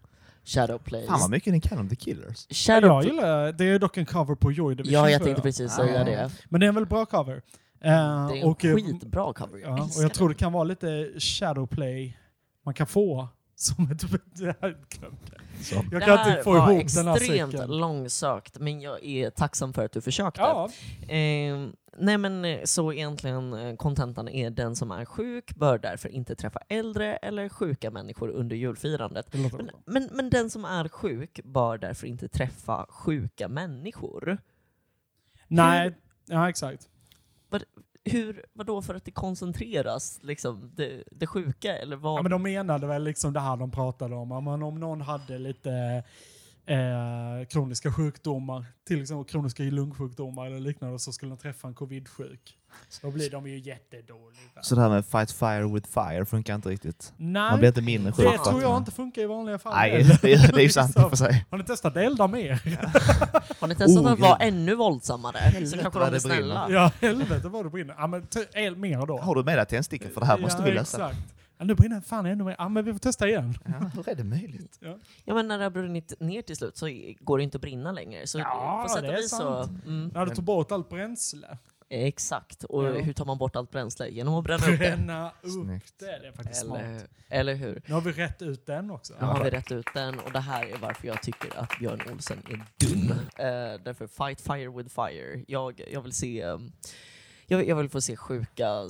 Speaker 10: Shadowplay.
Speaker 3: Fan vad mycket ni kan om The Killers.
Speaker 10: Shadow-
Speaker 2: jag gillar, det är dock en cover på Joy Division.
Speaker 10: Ja, jag
Speaker 2: tror
Speaker 10: tänkte precis säga det.
Speaker 2: Men det är en väldigt bra cover. Eh,
Speaker 10: Det är en
Speaker 2: och, eh,
Speaker 10: skitbra cover. Jag
Speaker 2: Ja, och
Speaker 10: älskar
Speaker 2: jag tror det kan vara lite Shadowplay man kan få (laughs) som ett... Det här glömde jag. Jag kan
Speaker 10: det här
Speaker 2: inte få
Speaker 10: var
Speaker 2: ihop den här
Speaker 10: extremt
Speaker 2: säcken.
Speaker 10: långsökt, men jag är tacksam för att du försökte.
Speaker 2: Ja.
Speaker 10: Ehm, nej men eh, så egentligen eh, kontentan är den som är sjuk bör därför inte träffa äldre eller sjuka människor under julfirandet.
Speaker 2: Det låter
Speaker 10: Men, men, men den som är sjuk bör därför inte träffa sjuka människor.
Speaker 2: Nej, ja exakt.
Speaker 10: Vad, hur, vadå för att det koncentreras, liksom, det, det sjuka? Eller vad?
Speaker 2: Ja, men de menade väl liksom det här de pratade om. Ja, men om någon hade lite eh, kroniska sjukdomar, till exempel kroniska lungsjukdomar eller liknande, så skulle de träffa en covid-sjuk. Då blir de ju jättedåliga.
Speaker 3: Så det här med fight fire with fire funkar inte riktigt.
Speaker 2: Nej,
Speaker 3: Man blir inte mindre sjuk.
Speaker 2: det
Speaker 3: för att
Speaker 2: tror jag
Speaker 3: man-
Speaker 2: inte funkar i vanliga fall.
Speaker 3: Nej,
Speaker 2: heller. (laughs)
Speaker 3: det är- det är ju sant i och för sig.
Speaker 2: Har ni testat att elda mer?
Speaker 10: Har ni testat
Speaker 3: Oh,
Speaker 10: att vara
Speaker 3: gud.
Speaker 10: ännu våldsammare? så kanske de
Speaker 3: vad
Speaker 10: blir
Speaker 3: det brinner.
Speaker 10: snälla.
Speaker 2: Ja, (laughs) helvete vad det brinner. Ja, men t- el mer då.
Speaker 3: Har du med dig tändstickor? För det här måste
Speaker 2: ja,
Speaker 3: vi lösa.
Speaker 2: Exakt. Ja, nu brinner det fan ännu mer. Ja, men vi får testa igen.
Speaker 3: Ja, hur är det möjligt?
Speaker 2: Ja.
Speaker 10: Ja men när det har brunnit ner till slut så går det inte att brinna längre. Så på sätt och vis så... Mm,
Speaker 2: När du tog bort allt
Speaker 3: (laughs)
Speaker 2: bränsle.
Speaker 10: exakt. Och
Speaker 2: Ja.
Speaker 10: hur tar man bort allt bränsle? Genom att bränna upp
Speaker 2: (laughs)
Speaker 10: det.
Speaker 2: Bränna upp det. Det är faktiskt
Speaker 10: Eller,
Speaker 2: smart.
Speaker 10: eller hur?
Speaker 2: Nu har vi rätt ut den också.
Speaker 10: Nu har vi rätt ut den och det här är varför jag tycker att Björn Olsen är dum. Eh, därför fight fire with fire. Jag, jag vill se... eh, jag, jag vill få se sjuka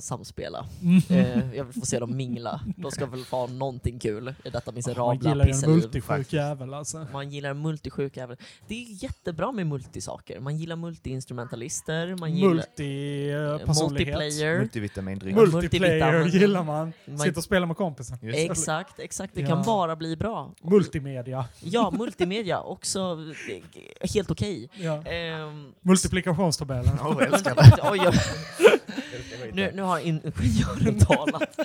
Speaker 2: (laughs)
Speaker 10: samspela. Eh, jag vill få se dem mingla. De ska väl få ha någonting kul i detta
Speaker 2: Man
Speaker 10: miserabla
Speaker 2: gillar ju en
Speaker 10: pisseliv.
Speaker 2: multisjuk jävel alltså.
Speaker 10: Man gillar multisjuka även. Det är jättebra med multisaker. Man gillar multiinstrumentalister, man gillar eh,
Speaker 2: Multipersonlighet.
Speaker 10: multiplayer.
Speaker 3: Multivitamindryck.
Speaker 10: Mul-
Speaker 2: Multiplayer
Speaker 10: Multivitamin.
Speaker 2: gillar man.
Speaker 10: Man-
Speaker 2: Sitter och spelar med kompisar.
Speaker 10: Exakt, exakt. Det
Speaker 2: Ja.
Speaker 10: kan bara bli bra.
Speaker 2: Multimedia.
Speaker 10: Ja, multimedia också eh, helt okej.
Speaker 2: Ja.
Speaker 10: Ehm,
Speaker 2: Multiplikationstabellen.
Speaker 3: Åh, (laughs) jag älskar det.
Speaker 10: oj, oj. Nu, nu
Speaker 3: (laughs)
Speaker 10: har ingenjören talat.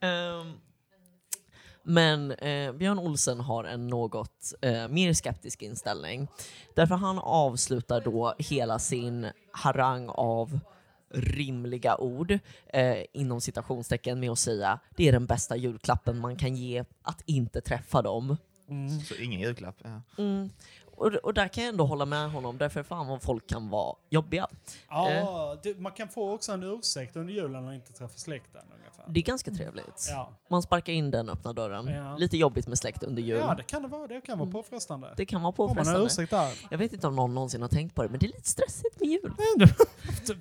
Speaker 10: Ehm, men eh, Björn Olsen har en något eh, mer skeptisk inställning. Därför han avslutar då hela sin harang av rimliga ord eh, inom citationstecken med att säga det är den bästa julklappen man kan ge att inte träffa dem.
Speaker 3: Så ingen julklapp. Ja.
Speaker 10: Mm. Och, och där kan jag ändå hålla med honom, därför fan vad folk kan vara jobbiga.
Speaker 2: Ja, det, man kan få också en ursäkt under julen och inte träffa släkten ungefär.
Speaker 10: Det är ganska trevligt.
Speaker 2: Ja.
Speaker 10: Man sparkar in den öppna dörren.
Speaker 2: Ja.
Speaker 10: Lite jobbigt med släkt under jul.
Speaker 2: ja, det kan det vara. Det kan vara påfrestande.
Speaker 10: Mm. Det kan vara
Speaker 2: Har man en
Speaker 10: påfrestande.
Speaker 2: ursäkt där?
Speaker 10: (laughs) Jag vet inte om någon någonsin har tänkt på det, men det är lite stressigt
Speaker 2: (laughs)
Speaker 10: med jul.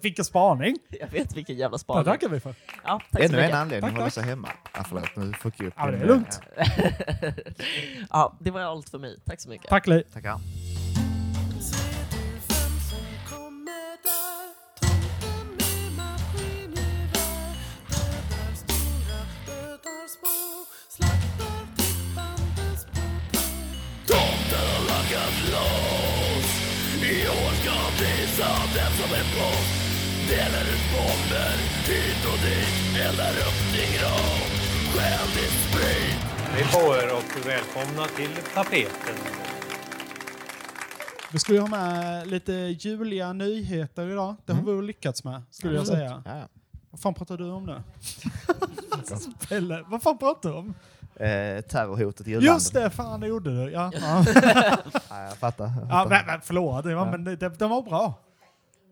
Speaker 2: Vilken spaning!
Speaker 10: Jag vet vilken jävla
Speaker 2: Det
Speaker 10: spaning.
Speaker 2: tackar vi för.
Speaker 10: Ja, tack så
Speaker 3: Ännu en
Speaker 10: mycket.
Speaker 3: anledning att hålla sig hemma. Ja, förlåt, nu fuckar
Speaker 2: Ja, det
Speaker 3: jag upp. eh, min-
Speaker 2: är lugnt.
Speaker 10: Ja, det var allt för mig. Tack så mycket.
Speaker 2: Tack Li.
Speaker 3: Tackar.
Speaker 9: Hej på er och välkomna till tapeten.
Speaker 2: Vi skulle ju ha med lite juliga nyheter idag. Det har vi väl lyckats med, skulle jag säga.
Speaker 3: Mm. Ja, ja.
Speaker 2: Vad fan pratar du om
Speaker 3: (laughs)
Speaker 2: nu? Pelle, vad fan pratar du om?
Speaker 3: Eh, terrorhotet i u-landet.
Speaker 2: Just det, fan det gjorde du. Ja, ja.
Speaker 3: Ja, jag fattar.
Speaker 2: ja
Speaker 3: Jag fattar.
Speaker 2: men, men, förlåt, det var, men det, det, det var bra.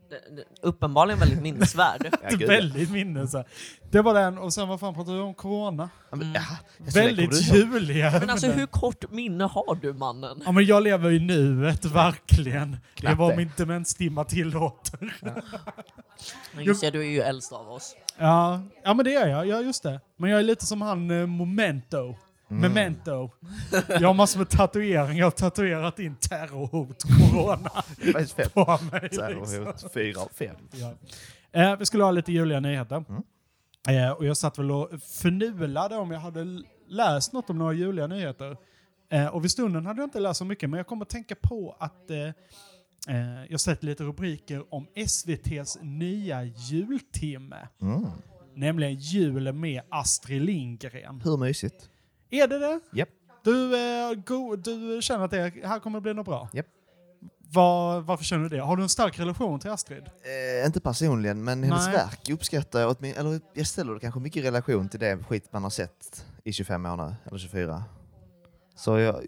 Speaker 10: Det- det- Uppenbarligen
Speaker 2: (laughs)
Speaker 10: väldigt minnesvärd.
Speaker 3: Ja, gud, ja.
Speaker 2: Väldigt minne. Så. Det var den, och sen vad fan pratade du om? Corona?
Speaker 3: Ja, men, ja, jag känner- kommer
Speaker 2: Väldigt
Speaker 3: du ihåg?
Speaker 2: juliga
Speaker 10: Men
Speaker 3: (laughs)
Speaker 2: ämnen.
Speaker 10: alltså hur kort minne har du mannen?
Speaker 2: Ja men jag lever i nuet, verkligen. Det
Speaker 3: Knappt
Speaker 2: var
Speaker 3: det.
Speaker 2: min demenstimma tillåter.
Speaker 10: Men Just det, du är ju äldst av oss.
Speaker 2: Ja, ja men det är jag. Ja, just det. Men jag är lite som han eh, Momento. Memento. Jag har massor med tatueringar. Jag har tatuerat in terrorhot, corona,
Speaker 3: Det var
Speaker 2: (laughs)
Speaker 3: ju fett.
Speaker 2: på mig. Liksom.
Speaker 3: Terrorhot fyra av fem.
Speaker 2: Ja. Eh, vi skulle ha lite juliga nyheter.
Speaker 3: Mm.
Speaker 2: Eh, och jag satt väl och förnulade om jag hade l- läst något om några juliga nyheter. Eh, och vid stunden hade jag inte läst så mycket, men jag kom att tänka på att eh, Eh, jag har sett lite rubriker om SVTs nya jultimme.
Speaker 3: Mm.
Speaker 2: Nämligen jul med Astrid Lindgren.
Speaker 3: Hur mysigt?
Speaker 2: Är det det?
Speaker 3: Japp.
Speaker 2: Du, eh, go, du känner att det här kommer bli något bra?
Speaker 3: Japp.
Speaker 2: Var, varför känner du det? Har du en stark relation till Astrid?
Speaker 3: Eh, inte personligen, men hennes
Speaker 2: Nej.
Speaker 3: verk uppskattar jag. åtmin- Eller jag ställer det kanske mycket i relation till det skit man har sett i 25 år nu, eller 24. Så jag,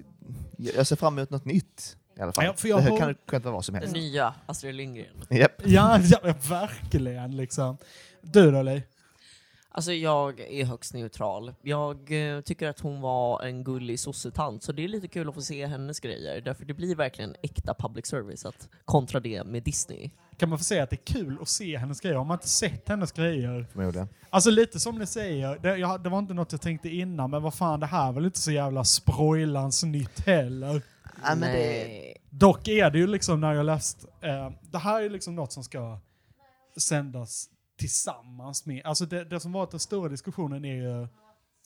Speaker 3: jag jag ser fram emot något nytt i alla fall.
Speaker 2: Ja, för jag
Speaker 3: det här
Speaker 2: har-
Speaker 3: kan ju inte vara vad som
Speaker 10: Den
Speaker 3: helst.
Speaker 10: nya Astrid Lindgren.
Speaker 3: Japp.
Speaker 2: (laughs) Ja, ja verkligen liksom. Du då, Li?
Speaker 10: Alltså jag är högst neutral. Jag eh, tycker att hon var en gullig sossetant, så det är lite kul att få se hennes grejer. Därför det blir verkligen äkta public service att kontra det med Disney.
Speaker 2: Kan man få säga att det är kul att se hennes grejer? Har man inte sett hennes grejer?
Speaker 3: Förmodligen.
Speaker 2: Alltså lite som ni säger, det, jag, det var inte något jag tänkte innan, men vad fan, det här är väl inte så jävla sproilans nytt heller.
Speaker 3: Ja, men det-
Speaker 2: Dock är det ju liksom när jag läst, eh, det här är ju liksom något som ska sändas tillsammans med, alltså det, det som varit den stora diskussionen är ju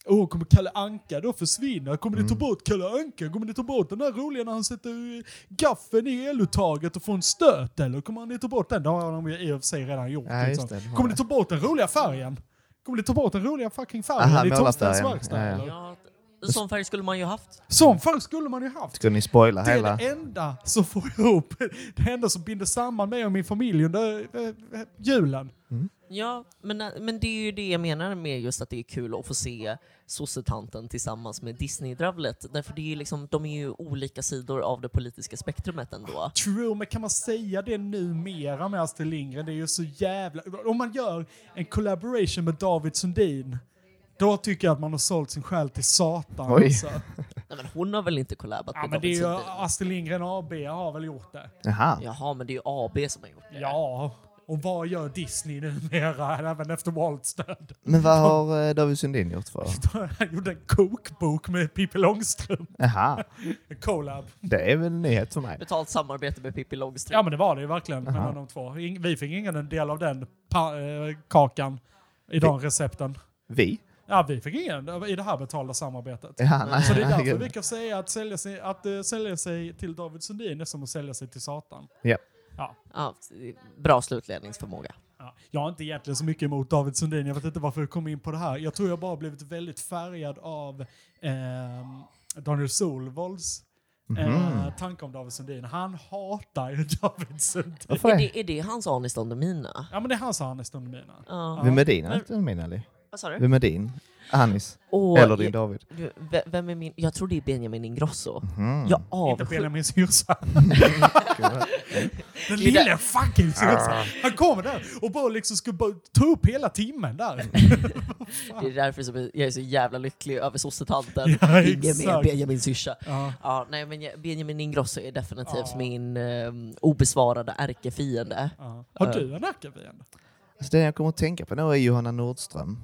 Speaker 2: Åh, kommer Kalle Anka då försvinna? Kommer ni ta
Speaker 3: Mm.
Speaker 2: bort Kalle Anka? Kommer ni ta bort den där roliga när han sätter eh, gaffeln i eluttaget och får en stöt? Eller kommer ni ta bort den? Det har de ju i och för sig redan gjort.
Speaker 3: Ja, just det,
Speaker 2: liksom.
Speaker 3: de har
Speaker 2: kommer ni
Speaker 3: det.
Speaker 2: ta bort den roliga färgen? Kommer ni ta bort den roliga fucking färgen
Speaker 3: Aha,
Speaker 2: i Torstens
Speaker 3: målarfärgen.
Speaker 2: verkstad?
Speaker 3: Ja, ja.
Speaker 2: eller?
Speaker 10: Ja, sån färg skulle man ju haft.
Speaker 2: Sån färg skulle man ju haft.
Speaker 3: Skulle ni spoila
Speaker 2: Det är
Speaker 3: hela?
Speaker 2: det enda som får (laughs) ihop, det enda som binder samman mig och min familj under eh, eh, julen.
Speaker 10: Ja, men, men det är ju det jag menar med just att det är kul att få se sossetanten tillsammans med Disney-dravlet. Därför det är ju liksom, de är ju olika sidor av det politiska spektrumet ändå.
Speaker 2: True, men kan man säga det numera med Astrid Lindgren? Det är ju så jävla... Om man gör en collaboration med David Sundin, då tycker jag att man har sålt sin själ till Satan.
Speaker 3: Oj.
Speaker 2: Alltså.
Speaker 10: Nej, men hon har väl inte collabat
Speaker 2: Ja,
Speaker 10: med
Speaker 2: men det är
Speaker 10: David
Speaker 2: ju
Speaker 10: Sundin?
Speaker 2: Astrid Lindgren AB har väl gjort det.
Speaker 3: Jaha.
Speaker 10: Jaha, men det är ju AB som har gjort det.
Speaker 2: Ja, och vad gör Disney numera, även efter Waltz död?
Speaker 3: Men vad har eh, David Sundin gjort för?
Speaker 2: (laughs) Han gjorde en kokbok med Pippi Långstrump.
Speaker 3: Jaha.
Speaker 2: En collab.
Speaker 3: Det är väl en nyhet för mig.
Speaker 10: Betalt samarbete med Pippi Långstrump.
Speaker 2: Ja men det var det ju verkligen mellan de två. Ing- Vi fick ingen del av den pa- eh, kakan i de recepten.
Speaker 3: Vi?
Speaker 2: Ja, vi fick ingen i det här betalda samarbetet.
Speaker 3: Ja, nej,
Speaker 2: så det är
Speaker 3: nej,
Speaker 2: därför
Speaker 3: gud.
Speaker 2: vi kan säga att sälja sig, att, eh, sälja sig till David Sundin är som att sälja sig till Satan.
Speaker 3: Ja.
Speaker 2: Ja.
Speaker 10: Ja, bra slutledningsförmåga.
Speaker 2: Ja. Jag har inte egentligen så mycket emot David Sundin, jag vet inte varför jag kom in på det här. Jag tror jag bara blivit väldigt färgad av ehm, Daniel Solvolds eh,
Speaker 3: Mhm.
Speaker 2: tanke om David Sundin. Han hatar ju (laughs) David Sundin.
Speaker 3: Varför
Speaker 10: Är
Speaker 3: det?
Speaker 10: det, är det hans Anis Don Demina?
Speaker 2: Ja men det är han som han är stund mina.
Speaker 10: Ja.
Speaker 3: Vem är din? Inte min, eller?
Speaker 10: Vad sa du?
Speaker 3: Vem är din? Anis?
Speaker 10: Åh,
Speaker 3: Eller din
Speaker 10: jag-
Speaker 3: David?
Speaker 10: Du, ve- Vem är min? Jag tror det är Benjamin Ingrosso.
Speaker 3: Mm.
Speaker 10: Jag
Speaker 2: Inte
Speaker 10: avskyr...
Speaker 2: Benjamin (laughs) Syrsa. Den
Speaker 10: Det är
Speaker 2: lille fucking Syrsa. Han kommer där och bara liksom skulle bara ta upp hela timmen där.
Speaker 10: Det är därför som jag är så jävla lycklig över sossetanten.
Speaker 2: (laughs) Ja,
Speaker 10: Ingen mer
Speaker 2: exakt.
Speaker 10: Benjamin syrsa.
Speaker 2: Ja.
Speaker 10: Ja, nej, men jag- Benjamin Ingrosso är definitivt
Speaker 2: Ja.
Speaker 10: min ehm, obesvarade ärkefiende.
Speaker 2: Ja. Har du en Ackabian?
Speaker 3: Alltså det jag kommer att tänka på nu är Johanna Nordström.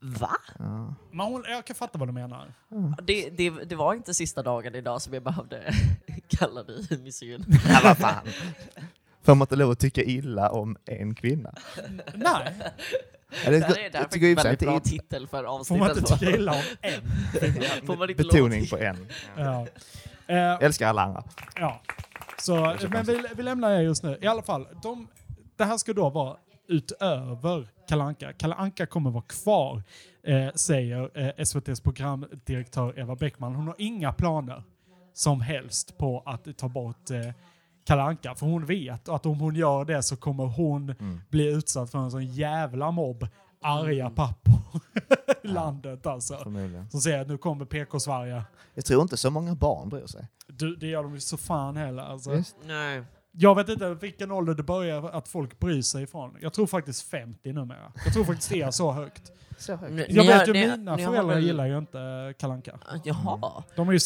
Speaker 10: Va?
Speaker 3: Ja.
Speaker 2: Men hon, jag kan fatta vad du menar.
Speaker 10: Det, det, det var inte sista dagen idag som jag behövde (laughs) kalla dig misogyn.
Speaker 3: Ja, vad fan. Får man inte lov att tycka illa om en kvinna?
Speaker 2: Nej,
Speaker 3: Eller,
Speaker 10: Det här är därför
Speaker 3: ju
Speaker 10: en
Speaker 3: i och för sig
Speaker 10: väldigt bra
Speaker 3: inte
Speaker 10: titel för
Speaker 2: får man
Speaker 10: avsnittet.
Speaker 2: inte tycka illa om en.
Speaker 10: (laughs) Får man inte lov att
Speaker 3: betoning
Speaker 10: tycka-
Speaker 3: på en.
Speaker 2: Ja. Eh,
Speaker 3: Jag älskar alla andra.
Speaker 2: ja. Så, men vi, vi lämnar er just nu. I alla fall, de, det här ska då vara utöver Kalle Anka. Kalle Anka kommer vara kvar, eh, säger eh, SVTs programdirektör Eva Bäckman. Hon har inga planer som helst på att ta bort eh, Kalle Anka, för hon vet att om hon gör det så kommer hon bli utsatt för en sån jävla mobb arga pappor (laughs) i landet alltså.
Speaker 3: Förmodligen.
Speaker 2: Som säger att nu kommer PK-Sverige.
Speaker 3: Jag tror inte så många barn bryr sig.
Speaker 2: Du, det gör de ju så fan heller. Alltså.
Speaker 3: Visst.
Speaker 10: Nej.
Speaker 2: Jag vet inte vilken ålder det börjar att folk bryr sig ifrån. Jag tror faktiskt 50 numera. Jag tror faktiskt det är så högt.
Speaker 3: Så högt.
Speaker 10: Ni-
Speaker 2: Jag
Speaker 10: ni
Speaker 2: vet
Speaker 10: har-
Speaker 2: ju
Speaker 10: ni-
Speaker 2: mina
Speaker 10: ni har
Speaker 2: föräldrar
Speaker 10: väl-
Speaker 2: gillar ju inte Kalanka.
Speaker 10: Jaha,
Speaker 2: De är ju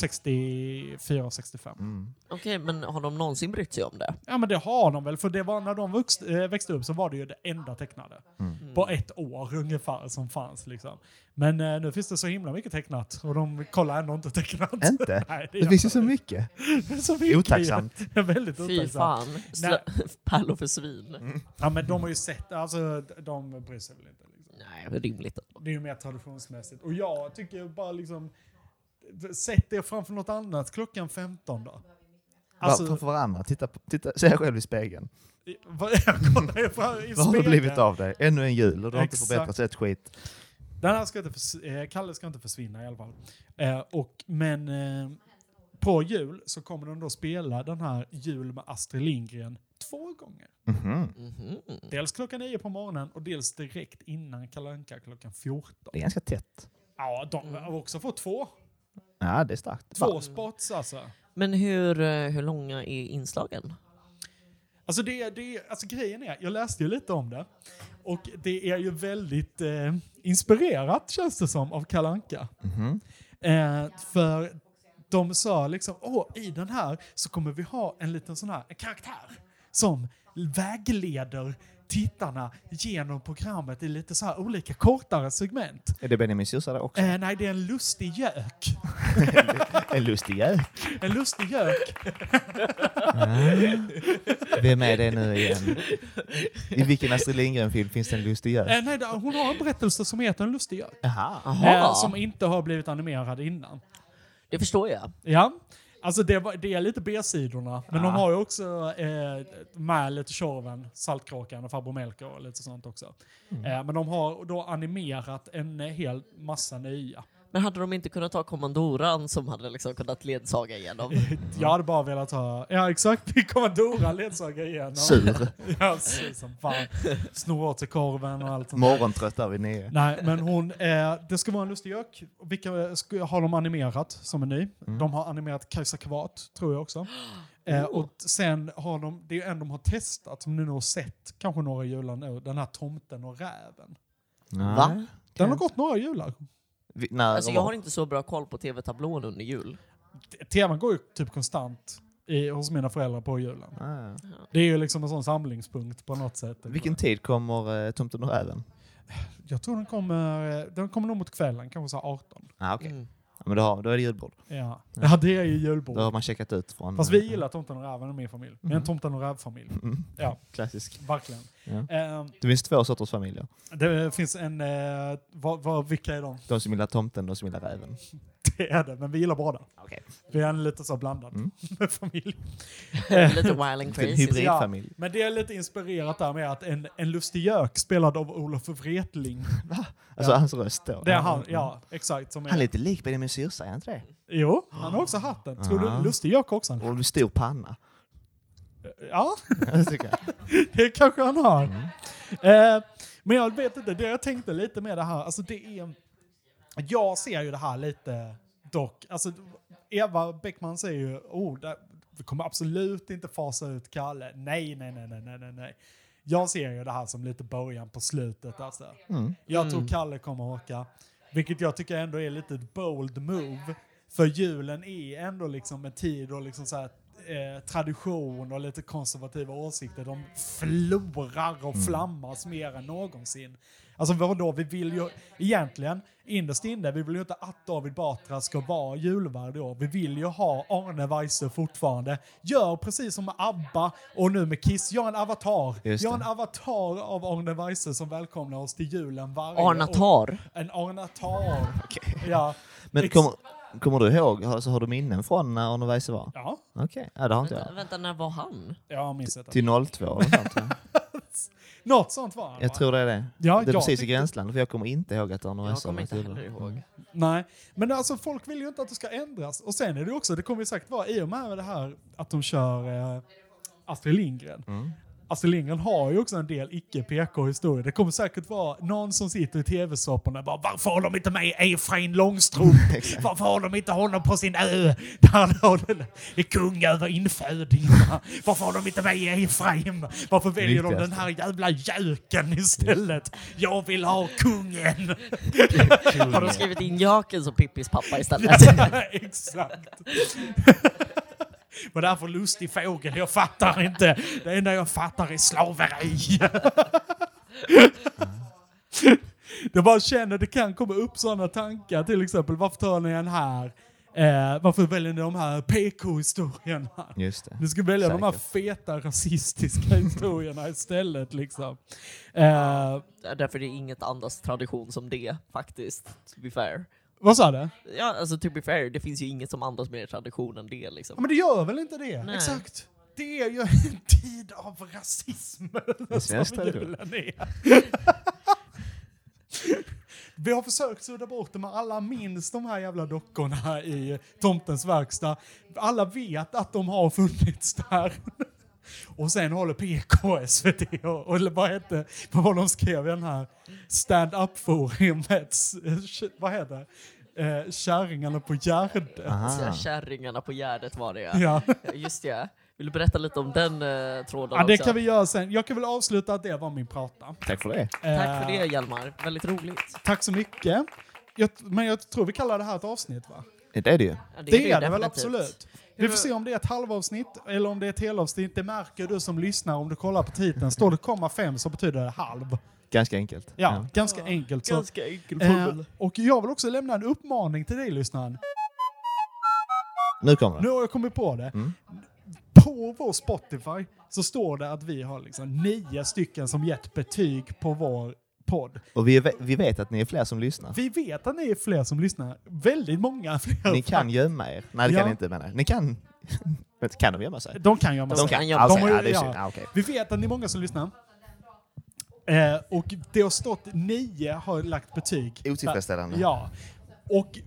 Speaker 2: 64, 65.
Speaker 3: Mm.
Speaker 10: okej, men har de någonsin brytt sig om det?
Speaker 2: Ja men det har de väl, för det var när de vuxt, eh, växte upp så var det ju det enda tecknade.
Speaker 3: Mm.
Speaker 10: Mm.
Speaker 2: På ett år ungefär som fanns liksom. Men eh, nu finns det så himla mycket tecknat och de kollar ändå inte tecknat.
Speaker 3: Inte?
Speaker 2: (laughs) Nej, det,
Speaker 3: Det
Speaker 2: gör
Speaker 3: finns ju
Speaker 2: de
Speaker 3: så mycket.
Speaker 2: inte. (laughs) så mycket.
Speaker 3: Otacksamt.
Speaker 2: Det är väldigt
Speaker 10: Fy
Speaker 2: otacksamt.
Speaker 10: fan. Slö- (laughs) Pärlor för svin.
Speaker 3: Mm.
Speaker 2: Ja men de har ju sett, alltså de bryr sig väl inte. Liksom.
Speaker 10: Nej, vad rimligt.
Speaker 2: Det är ju mer traditionsmässigt. Och jag tycker bara liksom, sätt er framför något annat klockan 15 då. Alltså-
Speaker 3: Framför varandra, titta, på- titta, se dig själv i spegeln.
Speaker 2: (laughs) Vad jag kollar ju på- i
Speaker 3: (laughs) Vad har det
Speaker 2: spegeln.
Speaker 3: blivit av dig? Ännu en jul och du har inte
Speaker 2: Exakt.
Speaker 3: förbättrats ett skit.
Speaker 2: Den här ska inte förs- eh, Kalle ska inte försvinna i alla fall. Eh, och, men eh, på jul så kommer de då spela den här jul med Astrid Lindgren två gånger.
Speaker 3: Mhm.
Speaker 2: Dels klockan nio på morgonen och dels direkt innan Kalle Anka klockan 14.
Speaker 3: Det är ganska tätt.
Speaker 2: Ja, de
Speaker 3: Mm.
Speaker 2: har också fått två.
Speaker 3: Ja, det är starkt.
Speaker 2: Två spots alltså.
Speaker 10: Men hur, eh, hur långa är inslagen?
Speaker 2: Alltså, det, det, alltså grejen är, jag läste ju lite om det. Och det är ju väldigt eh, inspirerat känns det som av Kalle Anka.
Speaker 3: Mhm.
Speaker 2: Eh, för de sa liksom, åh i den här så kommer vi ha en liten sån här en karaktär som vägleder tittarna genom programmet i lite så här olika kortare segment.
Speaker 3: Är det Benjamin Syrsa där också?
Speaker 2: Eh, nej, det är en lustig gök.
Speaker 3: En lustig gök.
Speaker 2: En lustig gök.
Speaker 3: Vem är det nu igen? I vilken Astrid Lindgren-film finns det en lustig gök?
Speaker 2: Eh, nej, det- hon har en berättelse som heter En lustig gök.
Speaker 3: Aha.
Speaker 2: Eh, som inte har blivit animerad innan.
Speaker 10: Det förstår jag.
Speaker 2: Ja. Alltså det, var, det är lite B-sidorna, men de har ju också eh, med lite Tjorven, Saltkråkan och Farbror Melker och lite sånt också.
Speaker 10: Mm.
Speaker 2: Eh, men de har då animerat en hel massa nya.
Speaker 10: Men hade de inte kunnat ta kommandoran som hade liksom kunnat ledsaga igenom?
Speaker 2: Jag hade bara velat ha, ja exakt, (laughs) vi kommer Dora ledsagare igenom.
Speaker 3: Sur.
Speaker 2: ja, sur som fan. Snor åt sig korven och allt sånt. där.
Speaker 3: Morgontrött där vid nio.
Speaker 2: Nej, men hon, eh, det ska vara en lustig gök. Vilka ska, har de animerat som är ny? De har animerat Kajsa Kvart, tror jag också. Eh, och sen har de, det är ju en de har testat, som ni nog har sett kanske några jular nu, den här Tomten och räven.
Speaker 3: Nej. Va?
Speaker 2: Den har gått några jular.
Speaker 3: Vi- när
Speaker 10: Alltså
Speaker 3: de
Speaker 10: jag
Speaker 3: var-
Speaker 10: har inte så bra koll på tv-tablån under jul.
Speaker 2: Teman går ju typ konstant i, hos mina föräldrar på julen.
Speaker 3: Ah.
Speaker 2: Det är ju liksom en sån samlingspunkt på något sätt.
Speaker 3: Vilken tid kommer eh, Tomten och räven?
Speaker 2: Jag tror den kommer, eh, den kommer nog mot kvällen, kanske så här 18.
Speaker 3: Ah,
Speaker 10: Mm.
Speaker 3: okay. ja, men då, har, då är det julbord.
Speaker 2: Ja. ja, det är ju julbord.
Speaker 3: Då har man checkat ut från...
Speaker 2: Mm. Fast vi gillar Tomten och Räven i min familj. Vi är en
Speaker 3: Mm.
Speaker 2: Tomten och Räv-familj.
Speaker 3: Mm.
Speaker 2: Ja.
Speaker 3: Klassisk.
Speaker 2: Verkligen.
Speaker 3: Ja.
Speaker 2: Ehm,
Speaker 3: Det finns två sorters familjer.
Speaker 2: det finns en... Eh, vad, vad, vilka är de? (laughs)
Speaker 3: De som gillar tomten och de som gillar räven.
Speaker 2: Det är det, men vi gillar båda.
Speaker 3: Okay.
Speaker 2: Vi är en lite så blandad
Speaker 3: Mm.
Speaker 2: (laughs) familj.
Speaker 10: Lite wild and
Speaker 3: En crazy. hybridfamilj.
Speaker 2: Ja, men det är lite inspirerat där med att en, en lustig gök spelad av Olof Wretling.
Speaker 3: Alltså hans röst då.
Speaker 2: Det är han, ja. Exakt. Som
Speaker 3: Han är lite lik Benjamin Syrsa, är han inte det?
Speaker 2: Jo, han har också hatten. Tror
Speaker 3: Ja.
Speaker 2: du Lustig Jack också?
Speaker 3: Och en stor panna.
Speaker 2: Ja,
Speaker 3: det tycker jag.
Speaker 2: det kanske han har. Eh, men jag vet inte, det jag tänkte lite med det här, alltså det är... Jag ser ju det här lite dock, alltså Eva Bäckman säger ju, oh, det, vi kommer absolut inte fasa ut Kalle. Nej, nej, nej, nej, nej, nej, nej. Jag ser ju det här som lite början på slutet alltså.
Speaker 12: Mm.
Speaker 2: Jag tror
Speaker 12: Mm.
Speaker 2: Kalle kommer åka, vilket jag tycker ändå är lite ett bold move. För julen är ändå liksom en tid och liksom så här, eh, tradition och lite konservativa åsikter. De florar och flammas mer än någonsin. Alltså vadå, vi vill ju egentligen, innerst inne, vi vill ju inte att David Batra ska vara julvärd i år. Vi vill ju ha Arne Weise fortfarande. Gör precis som med ABBA och nu med Kiss, gör en avatar.
Speaker 10: Just
Speaker 2: gör
Speaker 10: det.
Speaker 2: en avatar av Arne Weise som välkomnar oss till julen varje år.
Speaker 10: Arnatar?
Speaker 2: En arnatar. Ja.
Speaker 3: Men
Speaker 2: Ex-
Speaker 3: kommer, kommer du ihåg, alltså, har du minnen från när Arne Weise var?
Speaker 2: Ja.
Speaker 3: Okej, ja, det har inte
Speaker 10: Vänta,
Speaker 3: jag.
Speaker 10: vänta, när var han?
Speaker 2: Ja, minns inte.
Speaker 3: Till 02 eller sånt, va?
Speaker 2: Något sånt var han, va?
Speaker 3: Jag tror det är det.
Speaker 2: Ja,
Speaker 3: det
Speaker 2: jag
Speaker 3: är precis i
Speaker 2: tyckte-
Speaker 3: gränslandet, för jag kommer inte ihåg att Arne Weise har varit julvärd.
Speaker 2: Nej, men alltså folk vill ju inte att det ska ändras. Och sen är det också, det kommer ju säkert vara i och med det här att de kör eh, Astrid Lindgren. Astrid Lindgren har ju också en del icke-PK-historier. Det kommer säkert vara någon som sitter i tv-såporna och bara “Varför har de inte med Efraim Långstrump? Varför har de inte honom på sin ö? (laughs) Där han har- är kung över infödingarna. Varför har de inte med Efraim? Varför väljer de
Speaker 12: Riktigt.
Speaker 2: den här jävla göken istället? Jag vill ha kungen!”
Speaker 10: Har de skrivit in Jaken som Pippis pappa istället?
Speaker 2: Ja, Alltså, exakt. Vad det här för lustig fågel? Jag fattar inte. Det enda jag fattar är slaveri. Jag bara känner att det kan komma upp sådana tankar. Till exempel, varför tar ni en här? Eh, varför väljer ni de här PK-historierna?
Speaker 3: Just det.
Speaker 2: Ni ska välja de här feta rasistiska (laughs) historierna istället. Liksom. Eh,
Speaker 10: (laughs) Därför det är inget andas tradition som det, faktiskt. To be fair.
Speaker 2: Vad sa du?
Speaker 10: Ja, alltså to be fair, det finns ju inget som andas mer tradition än det liksom.
Speaker 2: Ja, men det gör väl inte det?
Speaker 10: Nej.
Speaker 2: Exakt. Det är ju en (laughs) tid av rasism. (laughs)
Speaker 10: är svensk
Speaker 2: som
Speaker 10: tradition.
Speaker 2: julen är. Vi har försökt sudda bort det, men alla minns de här jävla dockorna i Tomtens verkstad. Alla vet att de har funnits där. (laughs) Och sen håller PK, SVT och, och eller vad hette, vad var de skrev i den här stand-up-forumets, vad heter det, eh, Kärringarna på Gärdet.
Speaker 10: Så Kärringarna på Gärdet var det
Speaker 2: Ja.
Speaker 10: Just det. Vill du berätta lite om den eh, tråden
Speaker 2: Ja, det
Speaker 10: också?
Speaker 2: kan vi göra sen. Jag kan väl avsluta att det var min prata.
Speaker 3: Tack för det.
Speaker 10: Tack
Speaker 2: Eh.
Speaker 10: för det Hjalmar, väldigt roligt.
Speaker 2: Tack så mycket. Jag, men jag tror vi kallar det här ett avsnitt, va?
Speaker 3: Det är det ju.
Speaker 10: Ja,
Speaker 2: det,
Speaker 10: det
Speaker 2: är det väl
Speaker 10: definitivt.
Speaker 2: absolut. Vi får se om det är ett halvavsnitt eller om det är ett helavsnitt. Det märker du som lyssnar om du kollar på titeln. Står det komma fem så betyder det halv.
Speaker 3: Ganska enkelt.
Speaker 2: Ja, ganska enkelt. Så.
Speaker 10: ganska enkel
Speaker 2: eh,
Speaker 10: formel.
Speaker 2: Och jag vill också lämna en uppmaning till dig lyssnaren.
Speaker 3: Nu kommer det.
Speaker 2: Nu har jag kommit på det.
Speaker 3: Mm.
Speaker 2: På vår Spotify så står det att vi har liksom nio stycken som gett betyg på vår podd.
Speaker 3: Och vi, ve- vi vet att ni är fler som lyssnar.
Speaker 2: Vi vet att ni är fler som lyssnar. Väldigt många (laughs) fler.
Speaker 3: Ni kan gömma er. Nej, det kan
Speaker 2: Ja.
Speaker 3: ni inte menar jag. Ni kan... (laughs) Men Kan de gömma sig?
Speaker 2: De kan gömma sig.
Speaker 3: De kan.
Speaker 2: De
Speaker 3: Ja, okej.
Speaker 2: har ju-
Speaker 3: Ja, det är
Speaker 2: ja.
Speaker 3: synd. Ja, okej.
Speaker 2: Vi vet att ni är många som lyssnar. Eh, och det har stått nio har lagt betyg.
Speaker 3: Otillfredsställande.
Speaker 2: Ja. Och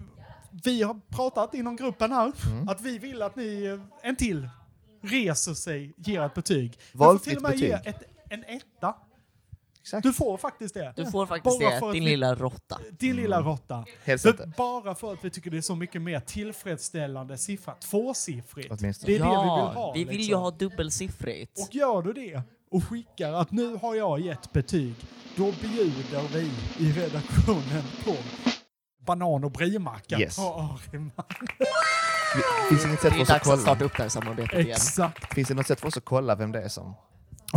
Speaker 2: vi har pratat inom gruppen här
Speaker 3: Mm.
Speaker 2: att vi vill att ni, eh, en till, reser sig, ger ett betyg. Du får
Speaker 3: Valfritt
Speaker 2: till och med
Speaker 3: betyg.
Speaker 2: ge ett, en etta. Du får faktiskt det.
Speaker 10: Du får faktiskt
Speaker 2: Bara
Speaker 10: det,
Speaker 2: för att
Speaker 10: din
Speaker 2: vi-
Speaker 10: lilla råtta.
Speaker 2: Din lilla
Speaker 3: Mm.
Speaker 2: råtta.
Speaker 3: Helst
Speaker 2: För-
Speaker 3: inte.
Speaker 2: Bara för att vi tycker det är så mycket mer tillfredsställande siffra. Tvåsiffrigt.
Speaker 3: Åtminstone.
Speaker 2: Det är det vi
Speaker 10: ja,
Speaker 2: vill ha.
Speaker 10: vi vill ju
Speaker 2: liksom.
Speaker 10: ha dubbelsiffrigt.
Speaker 2: Och gör du det och skickar att nu har jag gett betyg, då bjuder vi i redaktionen på banan och brimacka.
Speaker 3: Yes.
Speaker 2: Ja, Ariman.
Speaker 3: Finns det inget sätt för
Speaker 10: Det är
Speaker 3: oss att
Speaker 10: dags att
Speaker 3: kolla?
Speaker 10: starta upp det här samarbetet igen.
Speaker 2: Exakt.
Speaker 3: Finns det något sätt för oss att kolla vem det är som...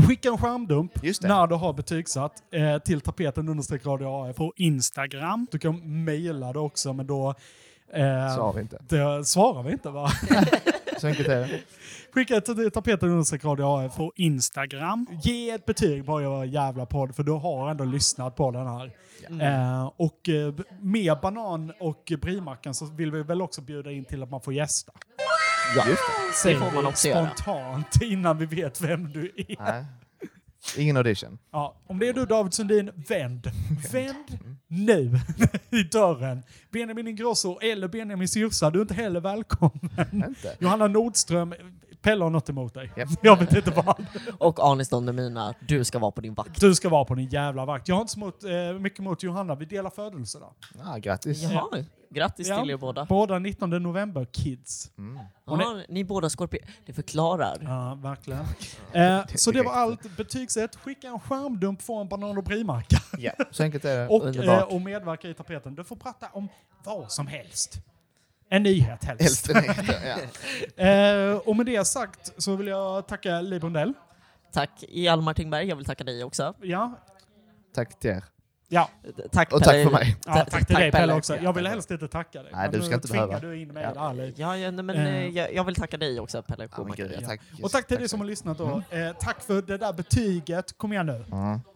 Speaker 2: Skicka en skärmdump när du har betygsatt eh, till tapeten understreck radio AF på Instagram. Du kan mejla det också, men då... Eh,
Speaker 3: Svarar vi inte.
Speaker 2: Det svarar vi inte, va?
Speaker 3: Så enkelt är det.
Speaker 2: Skicka till tapeten understreck radio AF på Instagram. Ge ett betyg på vår jävla podd, för du har ändå lyssnat på den här. Eh, och eh, b- med banan och brimackan så vill vi väl också bjuda in till att man får gästa.
Speaker 3: Ja, just det.
Speaker 2: Säger vi spontant innan vi vet vem du är.
Speaker 3: Nej. Ingen audition.
Speaker 2: Ja, om det är du David Sundin, vänd. Mm. Vänd nu (laughs) i dörren. Benjamin Ingrosso eller Benjamin Syrsa, du är inte heller välkommen. Johanna Nordström, Pelle har något emot dig. Jag vet inte vad.
Speaker 10: Och Anis Don Demina, du ska vara på din vakt.
Speaker 2: Du ska vara på din jävla vakt. Jag har inte så mot, eh, mycket emot Johanna, vi delar födelsedag.
Speaker 3: Ah, grattis.
Speaker 10: Jaha, grattis
Speaker 2: Ja.
Speaker 10: till er båda.
Speaker 2: Båda 19 november, kids.
Speaker 3: Mm.
Speaker 2: Hon
Speaker 10: Ja, ni båda skorpioner. Det förklarar.
Speaker 2: Ja,
Speaker 3: (laughs)
Speaker 2: verkligen. Eh, så det var allt. Betygsätt, skicka en skärmdump, få en banan och brimacka.
Speaker 3: (laughs) Ja, så enkelt är det.
Speaker 2: Och, eh,
Speaker 3: Underbart.
Speaker 2: och medverka i tapeten. Du får prata om vad som helst. En nyhet helst.
Speaker 3: (laughs) Helst en nyhet,
Speaker 2: eh, och med det sagt så vill jag tacka Li Bondell.
Speaker 10: Tack Hjalmar Tingberg, jag vill tacka dig också.
Speaker 2: Ja.
Speaker 3: Tack till er.
Speaker 2: Ja.
Speaker 10: Tack
Speaker 3: Och
Speaker 10: Pelle.
Speaker 3: tack för mig.
Speaker 2: Ja, tack, till dig Pelle också. Jag vill helst inte tacka dig.
Speaker 3: Nej,
Speaker 2: men
Speaker 3: du ska
Speaker 2: nu
Speaker 3: inte
Speaker 2: tvingar
Speaker 3: behöva.
Speaker 2: du in mig
Speaker 3: Ja.
Speaker 2: i det här lite.
Speaker 10: Ja, ja nej, men
Speaker 2: Eh,
Speaker 10: eh, jag, jag vill tacka dig också Pelle Komaker.
Speaker 3: ja, tack.
Speaker 2: Och tack till dig som har lyssnat. Då. Eh, tack för det där betyget. Kom igen nu.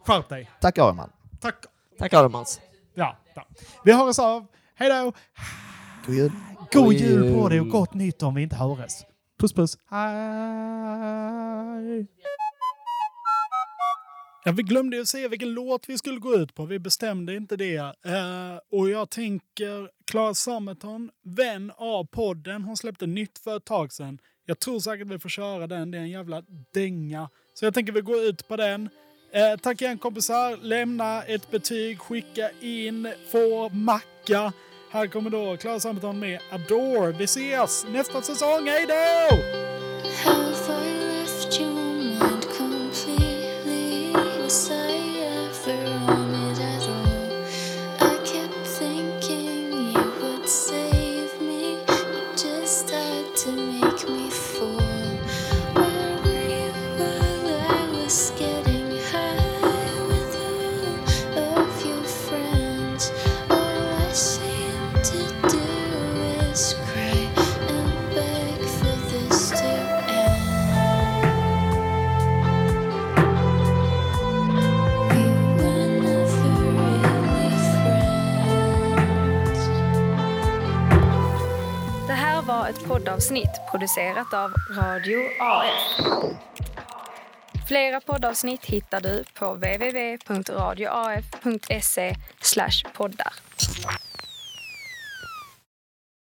Speaker 2: Skärp dig.
Speaker 3: Tack Arman.
Speaker 2: Tack.
Speaker 10: Tack Armans.
Speaker 2: Ja, ja. Vi hörs av. Hej då!
Speaker 3: God jul.
Speaker 2: God jul på dig och gott nytt om vi inte hörs. Puss puss.
Speaker 14: Ja, vi glömde ju säga vilken låt vi skulle gå ut på. Vi bestämde inte det. Eh, och jag tänker Klara Sammeton, vän av podden. Hon släppte nytt för ett tag sedan. Jag tror säkert vi får köra den. Det är en jävla dänga. Så jag tänker vi går ut på den. Eh, tack igen kompisar. Lämna ett betyg, skicka in, få macka. Här kommer då Klara Sammeton med Adore. Vi ses nästa säsong. Hej då!
Speaker 12: Have I left your mind completely? Was I ever on it at all? I kept thinking you would save me. You just had to make me fall. Where were you while I was getting high with all of your friends? All I seem to do is cry and beg for this to end.
Speaker 1: ett poddavsnitt producerat av Radio AF. Flera poddavsnitt hittar du på www.radioaf.se E poddar.